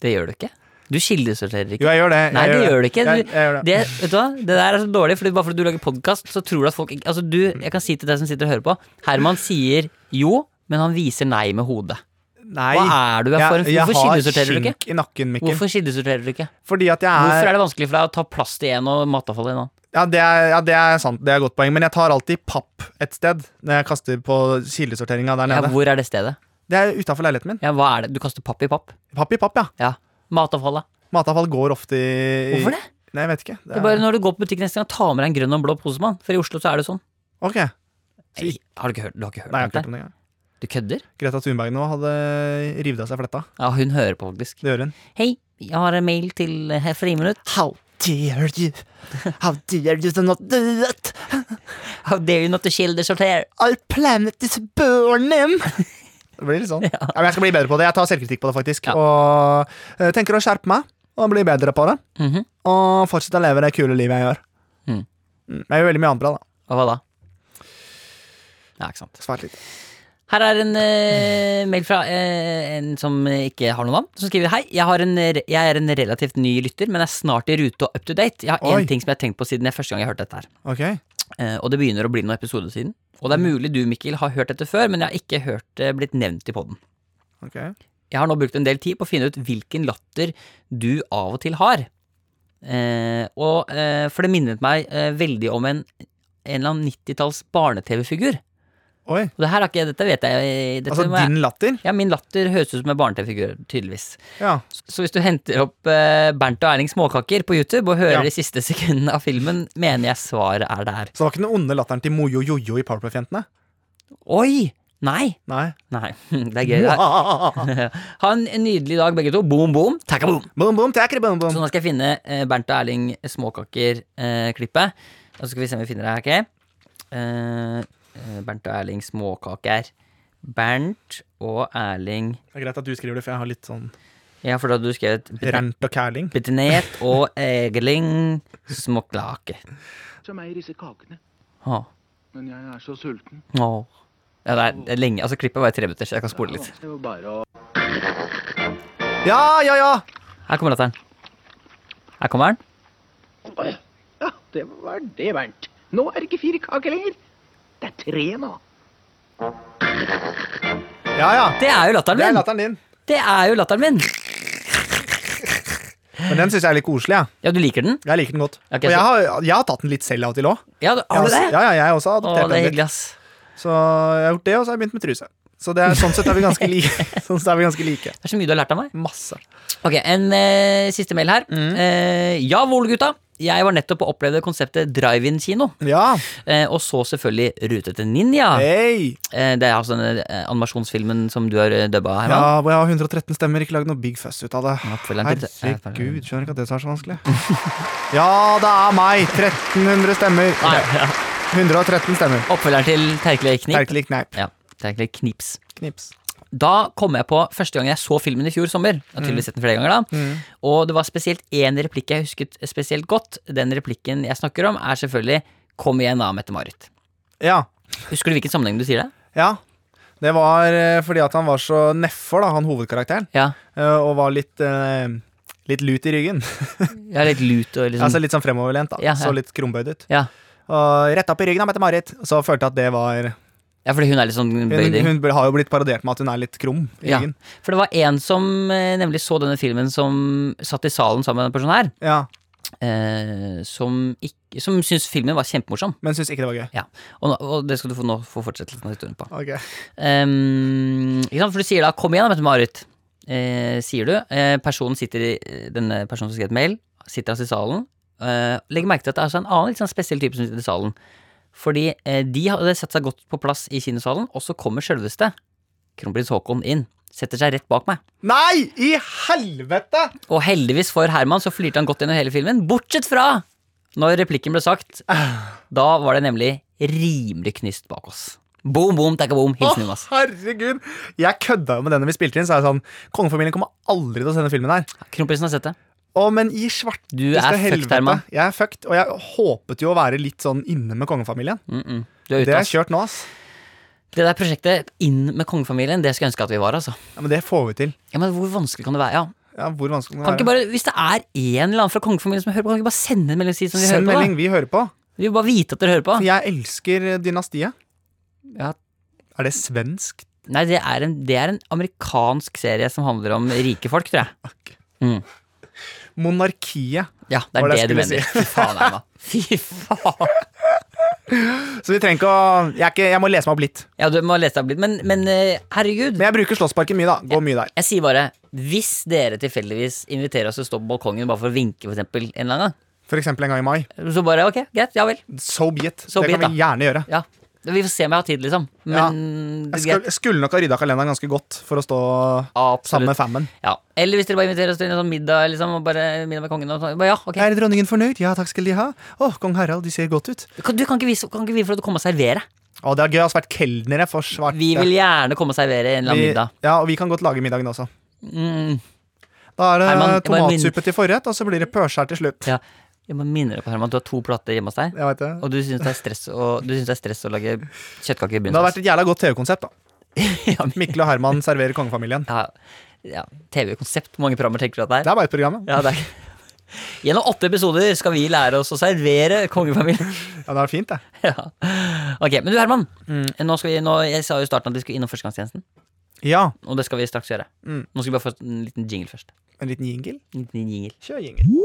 Speaker 2: Det gjør du ikke. Du kildesorterer ikke.
Speaker 3: Jo, jeg gjør det. Jeg
Speaker 2: Nei, det gjør du ikke.
Speaker 3: Jeg,
Speaker 2: Du-
Speaker 3: jeg gjør det.
Speaker 2: Det, vet du hva? det der er så dårlig, fordi bare fordi du lager podkast, så tror du at folk ikke Altså, du,
Speaker 3: Mm.
Speaker 2: jeg kan si til deg som sitter og hører på, Herman sier jo, men han viser nei med hodet.
Speaker 3: Nei.
Speaker 2: Hva er du her for?
Speaker 3: Jeg, jeg
Speaker 2: Hvorfor
Speaker 3: har
Speaker 2: kildesorterer du ikke?
Speaker 3: skink i nakken, Mikkel.
Speaker 2: Hvorfor kildesorterer du ikke?
Speaker 3: Fordi at jeg
Speaker 2: Hvorfor
Speaker 3: er,
Speaker 2: er det vanskelig for deg å ta plast i en og matavfall i en annen?
Speaker 3: ja, det er Ja, det er sant. Det er et godt poeng. Men jeg tar alltid papp et sted når jeg kaster på kildesorteringa
Speaker 2: Ja,
Speaker 3: der nede.
Speaker 2: hvor er det stedet?
Speaker 3: Det er utafor leiligheten min.
Speaker 2: Ja, hva er det? Du kaster papp i papp?
Speaker 3: Papp i papp, ja.
Speaker 2: Ja. Matavfallet.
Speaker 3: Matavfall går ofte i
Speaker 2: Hvorfor det?
Speaker 3: Nei, jeg vet ikke.
Speaker 2: Det er bare når du går på butikken neste gang, ta med deg en grønn og en blå pose, mann. For i Oslo så er det sånn.
Speaker 3: Ok. Nei,
Speaker 2: Nei, har du ikke hørt, du har ikke hørt
Speaker 3: jeg
Speaker 2: om
Speaker 3: har ikke hørt
Speaker 2: det?
Speaker 3: om det engang.
Speaker 2: Du kødder?
Speaker 3: Greta Thunberg nå hadde revet av seg fletta.
Speaker 2: Ja, hun hører på, faktisk.
Speaker 3: Det gjør hun.
Speaker 2: Hei, jeg har en mail til eh, Friminutt.
Speaker 3: How dare you? How dare you to not do that?
Speaker 2: How dare you not to kildesortere?
Speaker 3: Our planet is burning! Det blir litt sånn. Ja. men jeg skal bli bedre på det. Jeg tar selvkritikk på det, faktisk.
Speaker 2: Ja.
Speaker 3: Og eh, tenker å skjerpe meg og bli bedre på det.
Speaker 2: Mhm.
Speaker 3: Og fortsette å leve det kule livet jeg gjør.
Speaker 2: Mm.
Speaker 3: Mm, Jeg gjør veldig mye annet bra, da.
Speaker 2: Og hva da? Ja, ikke sant.
Speaker 3: Svært lite.
Speaker 2: Her er en eh, mail fra eh, en som ikke har noe navn, som skriver Hei, jeg, har en, re- jeg er en relativt ny lytter, men er snart i rute og up to date. Jeg har
Speaker 3: Oi.
Speaker 2: én ting som jeg har tenkt på siden jeg første gang jeg hørte dette her.
Speaker 3: Ok.
Speaker 2: Eh, og det begynner å bli noen episoder siden. Og det er mulig du, Mikkel, har hørt dette før, men jeg har ikke hørt det blitt nevnt i poden.
Speaker 3: ok.
Speaker 2: Jeg har nå brukt en del tid på å finne ut hvilken latter du av og til har. Eh, og, eh, for det minnet meg eh, veldig om en, en eller annen 90-talls barne-TV-figur.
Speaker 3: Oi.
Speaker 2: Og det her har ikke jeg, dette vet jeg eh, dette
Speaker 3: Altså
Speaker 2: må jeg-
Speaker 3: din latter?
Speaker 2: Ja, min latter høres ut som en barne-TV-figur, tydeligvis.
Speaker 3: Ja.
Speaker 2: Så hvis du henter opp eh, Bernt og Erling Småkaker på YouTube og hører
Speaker 3: Ja.
Speaker 2: de siste sekundene av filmen, mener jeg svaret er der.
Speaker 3: Så det var ikke den onde latteren til Mojo Jojo i Powerplay-jentene?
Speaker 2: Oi! Nei!
Speaker 3: Nei. Ah,
Speaker 2: Nei, det er gøy. det her. Ha en nydelig dag, begge to. Boom, boom. Takka boom!
Speaker 3: Boom, boom, takker, boom,
Speaker 2: Så
Speaker 3: boom.
Speaker 2: nå skal jeg finne eh, Bernt og Erling Småkaker-klippet. og så skal vi se om vi finner det her, ok? Eh, eh, Bernt og Erling Småkaker. Bernt og Erling
Speaker 3: Det er greit at du skriver det, for jeg har litt sånn
Speaker 2: Ja, for da hadde du skrevet
Speaker 3: rant og kæling.
Speaker 2: Betnet og Erling Småkake.
Speaker 6: som eier disse kakene.
Speaker 2: Åh,
Speaker 6: Men jeg er så sulten.
Speaker 2: åh. Ja, det er, det er lenge. Altså, klippet var i tre minutter, så jeg kan spole litt.
Speaker 6: Det er jo bare å
Speaker 3: Ja, ja, ja!
Speaker 2: Her kommer latteren. Her kommer den.
Speaker 6: Ja, det var det, Bernt. Nå er det ikke fire kaker lenger. Det er tre nå.
Speaker 3: Ja, ja.
Speaker 2: Det er jo latteren
Speaker 3: Det er
Speaker 2: min!
Speaker 3: latteren din.
Speaker 2: Det er jo latteren min!
Speaker 3: Men den syns jeg er litt koselig. Ja.
Speaker 2: Ja, du liker den?
Speaker 3: Jeg liker den godt.
Speaker 2: Ok,
Speaker 3: og
Speaker 2: så-
Speaker 3: jeg har, jeg har tatt den litt selv av og til òg.
Speaker 2: Ja, du- har du det?
Speaker 3: Ja, ja, jeg har også
Speaker 2: Å,
Speaker 3: adoptert
Speaker 2: det er
Speaker 3: den litt.
Speaker 2: hyggelig, ass.
Speaker 3: Så jeg har gjort det, og så har jeg begynt med truse. Så det er, sånn sett er vi ganske like. sånn sett er vi ganske like.
Speaker 2: Det er så mye du har lært av meg.
Speaker 3: Masse.
Speaker 2: Ok, En eh, siste mail her.
Speaker 3: Mm.
Speaker 2: Eh, ja, Vål, gutta. Jeg var nettopp og opplevde konseptet drive-in-kino.
Speaker 3: Ja.
Speaker 2: eh, og så selvfølgelig Rute til ninja.
Speaker 3: Hei!
Speaker 2: Eh, det er altså den eh, animasjonsfilmen som du har eh, dubba, Herman.
Speaker 3: Ja, hvor jeg har 113 stemmer, ikke lag noe big fuss ut av det.
Speaker 2: oppfølgeren til-
Speaker 3: Herregud, skjønner ikke at det er så vanskelig. Ja, det er meg! 1300 stemmer.
Speaker 2: Nei,
Speaker 3: Ok, 113 stemmer.
Speaker 2: Oppfølgeren til Terkelig knip.
Speaker 3: Terkelig kneip.
Speaker 2: Ja, Terkelig knips.
Speaker 3: Knips.
Speaker 2: Da kom jeg på første gang jeg så filmen i fjor sommer. Jeg har
Speaker 3: Mm.
Speaker 2: tydeligvis sett den flere ganger da Og det var spesielt én replikk jeg husket spesielt godt. Den replikken jeg snakker om, er selvfølgelig 'Kom igjen da, Mette-Marit'.
Speaker 3: Ja.
Speaker 2: Husker du hvilken sammenheng du sier det?
Speaker 3: ja. Det var eh, fordi at han var så nedfor, da, han hovedkarakteren,
Speaker 2: Ja,
Speaker 3: eh, og var litt eh, Litt lut i ryggen.
Speaker 2: jeg er litt lut og liksom
Speaker 3: Altså Litt sånn fremoverlent. da
Speaker 2: Ja, ja.
Speaker 3: Så litt krumbøyd ut.
Speaker 2: Ja,
Speaker 3: Og rett opp i ryggen av Mette-Marit. Så følte jeg at det var
Speaker 2: ja fordi hun er litt sånn
Speaker 3: Hun,
Speaker 2: bøyding.
Speaker 3: hun ble- har jo blitt parodiert med at hun er litt krum i
Speaker 2: Ja.
Speaker 3: ryggen.
Speaker 2: For det var en som eh, nemlig så denne filmen som satt i salen sammen med denne personen her,
Speaker 3: Ja.
Speaker 2: eh, som, ikke, som syntes filmen var kjempemorsom.
Speaker 3: Men syns ikke det var gøy.
Speaker 2: Ja, og, nå- og det skal du få, nå få fortsettelsen av historien på.
Speaker 3: Ok.
Speaker 2: Ehm, ikke sant? For du sier da 'kom igjen, da, Mette-Marit'. Eh, sier du. Eh, personen sitter i, eh, denne personen som skrev et mail, sitter altså i salen. Eh, legg merke til at det er altså en annen litt sånn spesiell type som sitter i salen. Fordi eh, de hadde satt seg godt på plass i kinosalen, og så kommer sjølveste kronprins Haakon inn. Setter seg rett bak meg.
Speaker 3: Nei, i helvete!
Speaker 2: Og heldigvis for Herman så flirte han godt gjennom hele filmen, bortsett fra når replikken ble sagt. Da var det nemlig rimelig knist bak oss. Boom, boom, takka boom.
Speaker 3: Å,
Speaker 2: Hilsen Jonas.
Speaker 3: herregud! Jeg kødda jo med den da vi spilte inn. Så er jeg sånn, Kongefamilien kommer aldri til å sende filmen her.
Speaker 2: Kronprinsen har sett det.
Speaker 3: Å, men i svarteste
Speaker 2: Du er fucked, Herman.
Speaker 3: Jeg er fucked, og jeg håpet jo å være litt sånn inne med kongefamilien.
Speaker 2: Du er
Speaker 3: Det
Speaker 2: ute, altså.
Speaker 3: er
Speaker 2: ass.
Speaker 3: kjørt nå, ass.
Speaker 2: Det der prosjektet inn med kongefamilien, det skulle jeg ønske at vi var, altså.
Speaker 3: Ja, Men det får vi til.
Speaker 2: Ja, men hvor vanskelig kan det være? Ja.
Speaker 3: Ja, hvor vanskelig
Speaker 2: Kan
Speaker 3: kan det
Speaker 2: ikke
Speaker 3: være?
Speaker 2: bare, hvis det er en eller annen fra kongefamilien som hører på, kan ikke bare sende en melding og si som vi
Speaker 3: Send
Speaker 2: hører på,
Speaker 3: melding, vi hører på.
Speaker 2: da? Vi vil bare vite at dere hører på.
Speaker 3: Jeg elsker Dynastiet.
Speaker 2: Ja.
Speaker 3: Er det svensk?
Speaker 2: Nei, det er, en, det er en amerikansk serie som handler om rike folk, tror jeg.
Speaker 3: Monarkiet.
Speaker 2: Ja, det er
Speaker 3: Var
Speaker 2: det,
Speaker 3: det jeg
Speaker 2: du
Speaker 3: skulle
Speaker 2: mener. Fy faen, Emma. Fy faen.
Speaker 3: Så vi trenger ikke å Jeg, er ikke, jeg må lese meg opp litt.
Speaker 2: Ja, du må lese deg opp litt, men, men eh, herregud.
Speaker 3: Men jeg bruker Slåssparken mye, da. Går mye der.
Speaker 2: Jeg sier bare, hvis dere tilfeldigvis inviterer oss til å stå på balkongen bare for å vinke, for eksempel, en eller annen
Speaker 3: For eksempel en gang i mai.
Speaker 2: gang, så bare ok, greit, ja vel.
Speaker 3: So be it.
Speaker 2: So
Speaker 3: det
Speaker 2: be
Speaker 3: kan
Speaker 2: it,
Speaker 3: vi
Speaker 2: da.
Speaker 3: gjerne gjøre.
Speaker 2: Ja, vi får se om jeg har tid, liksom.
Speaker 3: Ja.
Speaker 2: Men det
Speaker 3: Jeg
Speaker 2: er
Speaker 3: skulle,
Speaker 2: greit.
Speaker 3: jeg skulle nok ha rydda kalenderen ganske godt for å stå sammen med
Speaker 2: Absolutt.
Speaker 3: fammen.
Speaker 2: Ja. Eller hvis dere bare inviterer oss til en sånn middag, liksom, og bare middag med kongen. Og sånn. Bare, ja, ok.
Speaker 3: Er dronningen fornøyd? Ja, takk skal de ha. Å, kong Harald, de ser godt ut.
Speaker 2: Kan- Du kan ikke, vi, kan ikke vi få lov til å komme og servere?
Speaker 3: Å, det er gøy. Jeg har svært kelnere for svarte.
Speaker 2: Vi vil gjerne komme og servere en eller annen
Speaker 3: Vi-
Speaker 2: middag.
Speaker 3: Ja, og vi kan godt lage middagen også.
Speaker 2: Mm,
Speaker 3: Da er det
Speaker 2: Herman, det var en
Speaker 3: tomatsuppe til forrett, og så blir det pølser til slutt.
Speaker 2: ja. Jeg må minne deg på Herman, du har to plater hjemme hos deg.
Speaker 3: Jeg vet det.
Speaker 2: Og du syns det er stress å, du synes det er stress å lage kjøttkaker i
Speaker 3: Det har vært
Speaker 2: begynnelsen?
Speaker 3: et jævla godt TV-konsept, da.
Speaker 2: Ja, men-
Speaker 3: Mikkel og Herman serverer kongefamilien.
Speaker 2: ja, ja. TV-konsept. Hvor mange programmer tenker du at
Speaker 3: Det
Speaker 2: det er?
Speaker 3: er bare et program, ja.
Speaker 2: Ja, det er. Gjennom åtte episoder skal vi lære oss å servere kongefamilien.
Speaker 3: ja det er fint, det.
Speaker 2: Ja. Ok, Men du Herman,
Speaker 3: Mm.
Speaker 2: nå skal vi, nå, jeg sa jo i starten at vi skulle innom førstegangstjenesten.
Speaker 3: Ja,
Speaker 2: Og det skal vi straks gjøre.
Speaker 3: Mm.
Speaker 2: Nå skal vi bare få en liten jingle først.
Speaker 3: en liten jingle.
Speaker 2: En liten jingle.
Speaker 3: Kjør jingle.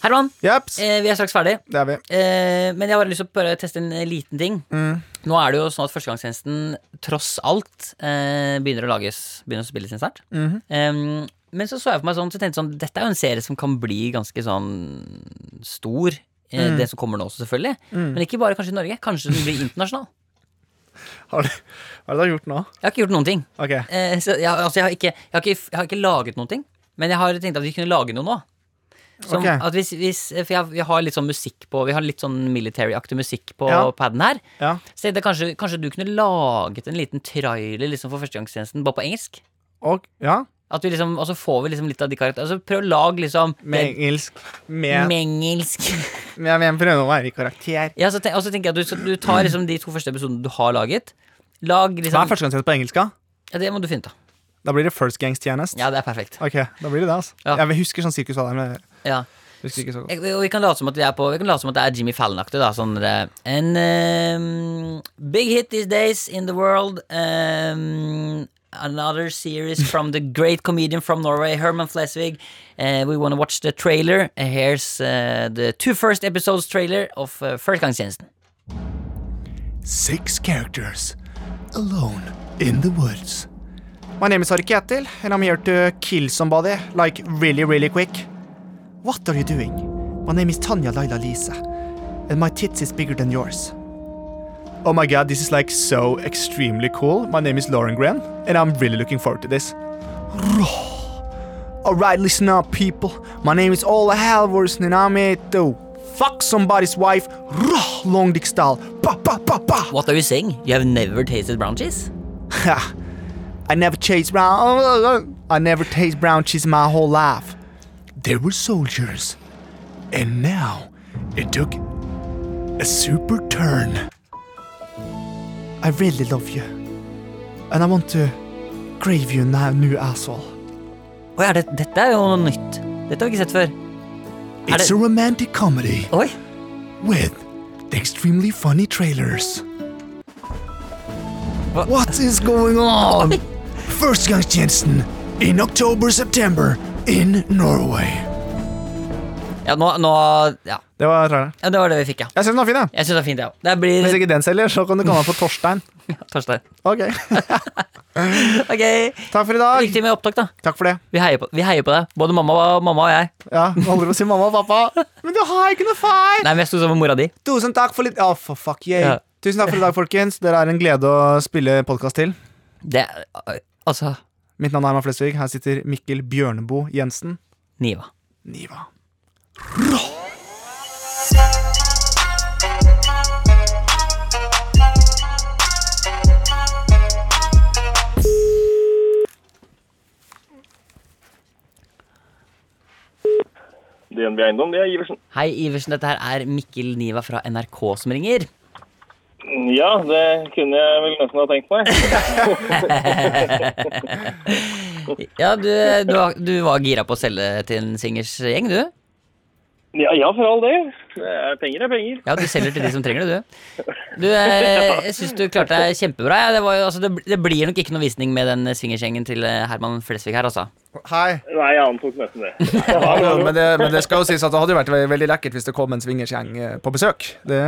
Speaker 2: Herman,
Speaker 3: Jeps,
Speaker 2: eh, vi er straks ferdig.
Speaker 3: det er vi.
Speaker 2: Eh, men jeg har bare lyst til å bare teste en eh, liten ting. Nå er det jo sånn at Førstegangstjenesten tross alt eh, begynner å lages. Begynner å spilles inn snart. Eh, men så så jeg for meg sånn, så tenkte jeg sånn dette er jo en serie som kan bli ganske sånn stor. eh, Det som kommer nå også, selvfølgelig. Men ikke bare kanskje i Norge. Kanskje den blir internasjonal.
Speaker 3: Har du, hva er det du har gjort nå?
Speaker 2: Jeg har ikke gjort noen ting.
Speaker 3: Ok,
Speaker 2: Eh, så jeg, altså, jeg, har ikke, jeg, har ikke, jeg har ikke laget noen ting, men jeg har tenkt at vi kunne lage noe nå. Som,
Speaker 3: Ok.
Speaker 2: at hvis, hvis, for jeg, jeg har litt sånn musikk på Vi har litt sånn military-aktig musikk på
Speaker 3: Ja.
Speaker 2: paden her.
Speaker 3: ja.
Speaker 2: Så jeg tenkte kanskje, kanskje du kunne laget en liten trailer liksom, for førstegangstjenesten, bare på engelsk?
Speaker 3: Og, ja,
Speaker 2: At vi liksom, Og så får vi liksom litt av de karakterene. Altså, prøv å lage liksom
Speaker 3: med
Speaker 2: det-
Speaker 3: engelsk.
Speaker 2: med
Speaker 3: Med,
Speaker 2: engelsk.
Speaker 3: med, med prøve å være i karakter.
Speaker 2: Ja, så ten, og så tenker jeg at du, skal- du tar liksom de to første episodene du har laget. Lag
Speaker 3: Hva er
Speaker 2: liksom
Speaker 3: førstegangstjeneste på engelsk? da?
Speaker 2: ja, Det må du finne ut av.
Speaker 3: Da blir det first gangs tjenest.
Speaker 2: Ja, det er perfekt.
Speaker 3: Ok, da blir det det, altså.
Speaker 2: Ja.
Speaker 3: Jeg husker sånn sirkus var der, men jeg
Speaker 2: Ja
Speaker 3: husker ikke så godt.
Speaker 2: Jeg- Og vi kan late som at vi er på Vi kan late som at det er Jimmy Fallon-aktig, da. Sånn eh, En ehm, big hit these days in the world. ehm, another series from the great comedian from Norway, Herman Flesvig. Eh, we want to watch the trailer. Eh, Here's eh, the two first episodes trailer of uh, Førstegangstjenesten.
Speaker 3: Six characters alone in the woods. My name is Ari Ketil, and I'm here to kill somebody, like really, really quick. What are you doing? My name is Tanya Laila Lisa, and my tits is bigger than yours. Oh my god, this is like so extremely cool. My name is Lauren Graham, and I'm really looking forward to this. Alright, listen up, people. My name is Ola Halvorsen, and I'm here to fuck somebody's wife, long dick style. Ba, ba, ba, ba.
Speaker 2: What are you saying? You have never tasted brown cheese?
Speaker 3: Ha. I never chased brown. I never tasted brown cheese my whole life. There were soldiers, and now it took a super turn. I really love you, and I want to crave you now, new asshole.
Speaker 2: Oi, er det, dette er jo noe nytt. Dette har vi ikke sett før. Er
Speaker 3: It's a
Speaker 2: det
Speaker 3: romantic comedy
Speaker 2: Oi!
Speaker 3: with the extremely funny trailers. What is going on? Førstegangstjenesten in October-September in Norway.
Speaker 2: Ja, nå, nå ja.
Speaker 3: Det var traileren.
Speaker 2: ja, det var det vi fikk, ja.
Speaker 3: Jeg syns den var fin, jeg.
Speaker 2: Jeg syns det er fint, jeg ja. òg. Det blir
Speaker 3: Hvis ikke den selger, så kan du kalle den for Torstein.
Speaker 2: Torstein.
Speaker 3: Ok,
Speaker 2: Ok,
Speaker 3: Takk for i dag.
Speaker 2: Riktig med opptak, da.
Speaker 3: Takk for det.
Speaker 2: Vi heier på, vi heier på deg. Både mamma, og- mamma og jeg.
Speaker 3: Ja, Nå holder du på å si mamma og pappa. Men du har ikke noe feil!
Speaker 2: Nei, men jeg sto sammen med mora di.
Speaker 3: Tusen takk for litt Ja, for fuck yeah.
Speaker 2: Ja.
Speaker 3: Tusen takk for i dag, folkens. Dere er en glede å spille podkast til.
Speaker 2: Det Altså
Speaker 3: Mitt navn er Herman Flesvig. Her sitter Mikkel Bjørneboe Jensen.
Speaker 2: Niva.
Speaker 3: Niva.
Speaker 5: DNB Eiendom, det er Iversen.
Speaker 2: Hei, Iversen. Dette her er Mikkel Niva fra NRK som ringer.
Speaker 5: Ja, det kunne jeg vel nesten ha tenkt meg.
Speaker 2: Ja, du, du, var- du var gira på å selge til en singers gjeng, du?
Speaker 5: Ja, ja, for all del. Det er penger er penger.
Speaker 2: Ja, du selger til de som trenger det, du. Du, eh, Jeg syns du klarte deg kjempebra. Ja, det, var, jo- altså, det, det blir nok ikke noe visning med den swingersgjengen til eh, Herman Flesvig her, altså.
Speaker 3: Hei.
Speaker 5: Nei, jeg antok nesten det. Jeg har
Speaker 3: Ja,
Speaker 5: noe.
Speaker 3: men, det, men det skal jo sies at det hadde jo vært ve- veldig lekkert hvis det kom en swingersgjeng eh, på besøk. Det,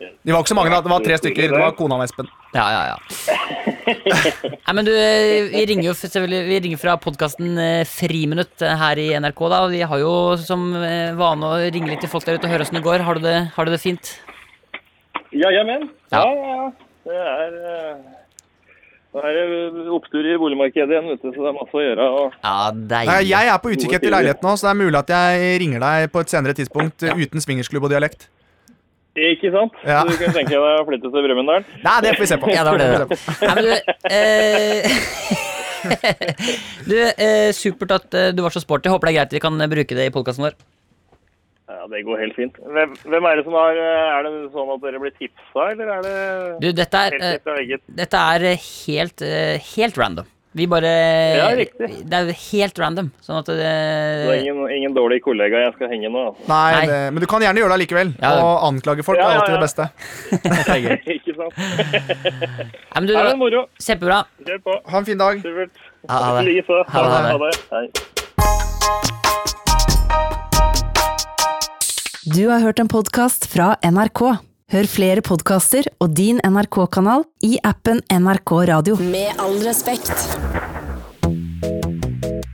Speaker 3: de var ikke så mange, da. Det var tre stykker. Det var kona og Espen.
Speaker 2: Ja, ja, ja. Nei, men du, eh, vi ringer jo f- selvfølgelig Vi ringer fra podkasten Friminutt eh, her i NRK, da. Og vi har jo som eh, vane å ringe litt til folk der ute og høre åssen det går. Har du det, har du det fint?
Speaker 5: Ja, ja, men.
Speaker 2: Ja.
Speaker 5: Ja, ja, ja. Det er, eh, nå er det opptur i boligmarkedet igjen, vet du, så det er masse å gjøre. Og
Speaker 2: Ja,
Speaker 3: Nei,
Speaker 2: deilig.
Speaker 3: Jeg er på utkikk etter leilighet nå, så det er mulig at jeg ringer deg på et senere tidspunkt eh, uten swingersklubb og dialekt.
Speaker 5: ikke sant?
Speaker 3: Ja.
Speaker 5: Du kan tenke deg å flytte til Brumunddal.
Speaker 3: Nei, det får vi se på.
Speaker 2: Ja, det var det.
Speaker 3: får vi se på.
Speaker 2: Nei, men du eh, Du, eh, supert at eh, du var så sporty. Håper det er greit vi kan eh, bruke det i podkasten vår.
Speaker 5: Ja, det går helt fint. Hvem, hvem er det som har eh, Er det sånn at dere blir tipsa, eller er det
Speaker 2: Du, dette er
Speaker 5: helt
Speaker 2: eh,
Speaker 5: etter eget?
Speaker 2: Dette er eh, helt, eh, helt random. Vi bare
Speaker 5: Ja, riktig.
Speaker 2: Det er helt random. Sånn at
Speaker 5: Det er
Speaker 2: det
Speaker 5: ingen, ingen dårlig kollega jeg skal henge nå. altså.
Speaker 3: Nei,
Speaker 2: Nei.
Speaker 3: det, Men du kan gjerne gjøre det likevel.
Speaker 2: Ja.
Speaker 3: Og anklage folk
Speaker 5: Ja,
Speaker 3: er
Speaker 5: ja,
Speaker 3: alltid
Speaker 5: ja.
Speaker 3: det beste.
Speaker 5: ikke sant?
Speaker 2: Nei, men du,
Speaker 5: Her er det moro.
Speaker 2: Kjempebra.
Speaker 5: Kjør på.
Speaker 3: Ha en fin dag.
Speaker 5: Supert.
Speaker 2: Ha det.
Speaker 5: Like så.
Speaker 2: Ha det.
Speaker 5: Ha det. Hei.
Speaker 1: Du har hørt en podkast fra NRK. Hør flere podkaster og din NRK-kanal i appen NRK Radio.
Speaker 7: Med all respekt.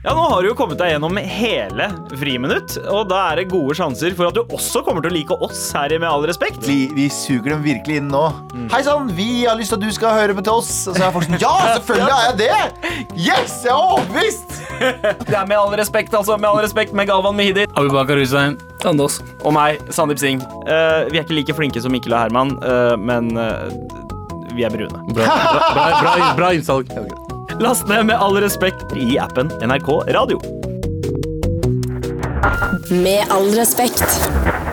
Speaker 8: Ja, nå har du jo kommet deg gjennom hele Friminutt, og da er det gode sjanser for at du også kommer til å like oss her i Med all respekt.
Speaker 9: Vi, vi suger dem virkelig inn nå. Mm. Hei sann, vi har lyst til at du skal høre på til oss. Og så er folk sånn Ja, selvfølgelig er jeg det! Yes, jeg er overbevist!
Speaker 8: Det er Med all respekt, altså. Med all respekt med Galvan Mehidi. Abubakar Hussein. Anders. Og meg, Sandeep Singh. Eh, vi er ikke like flinke som Mikkel og Herman, eh, men eh, vi er brune. Bra, innsalg. Last ned Med all respekt i appen NRK Radio.
Speaker 7: Med all respekt.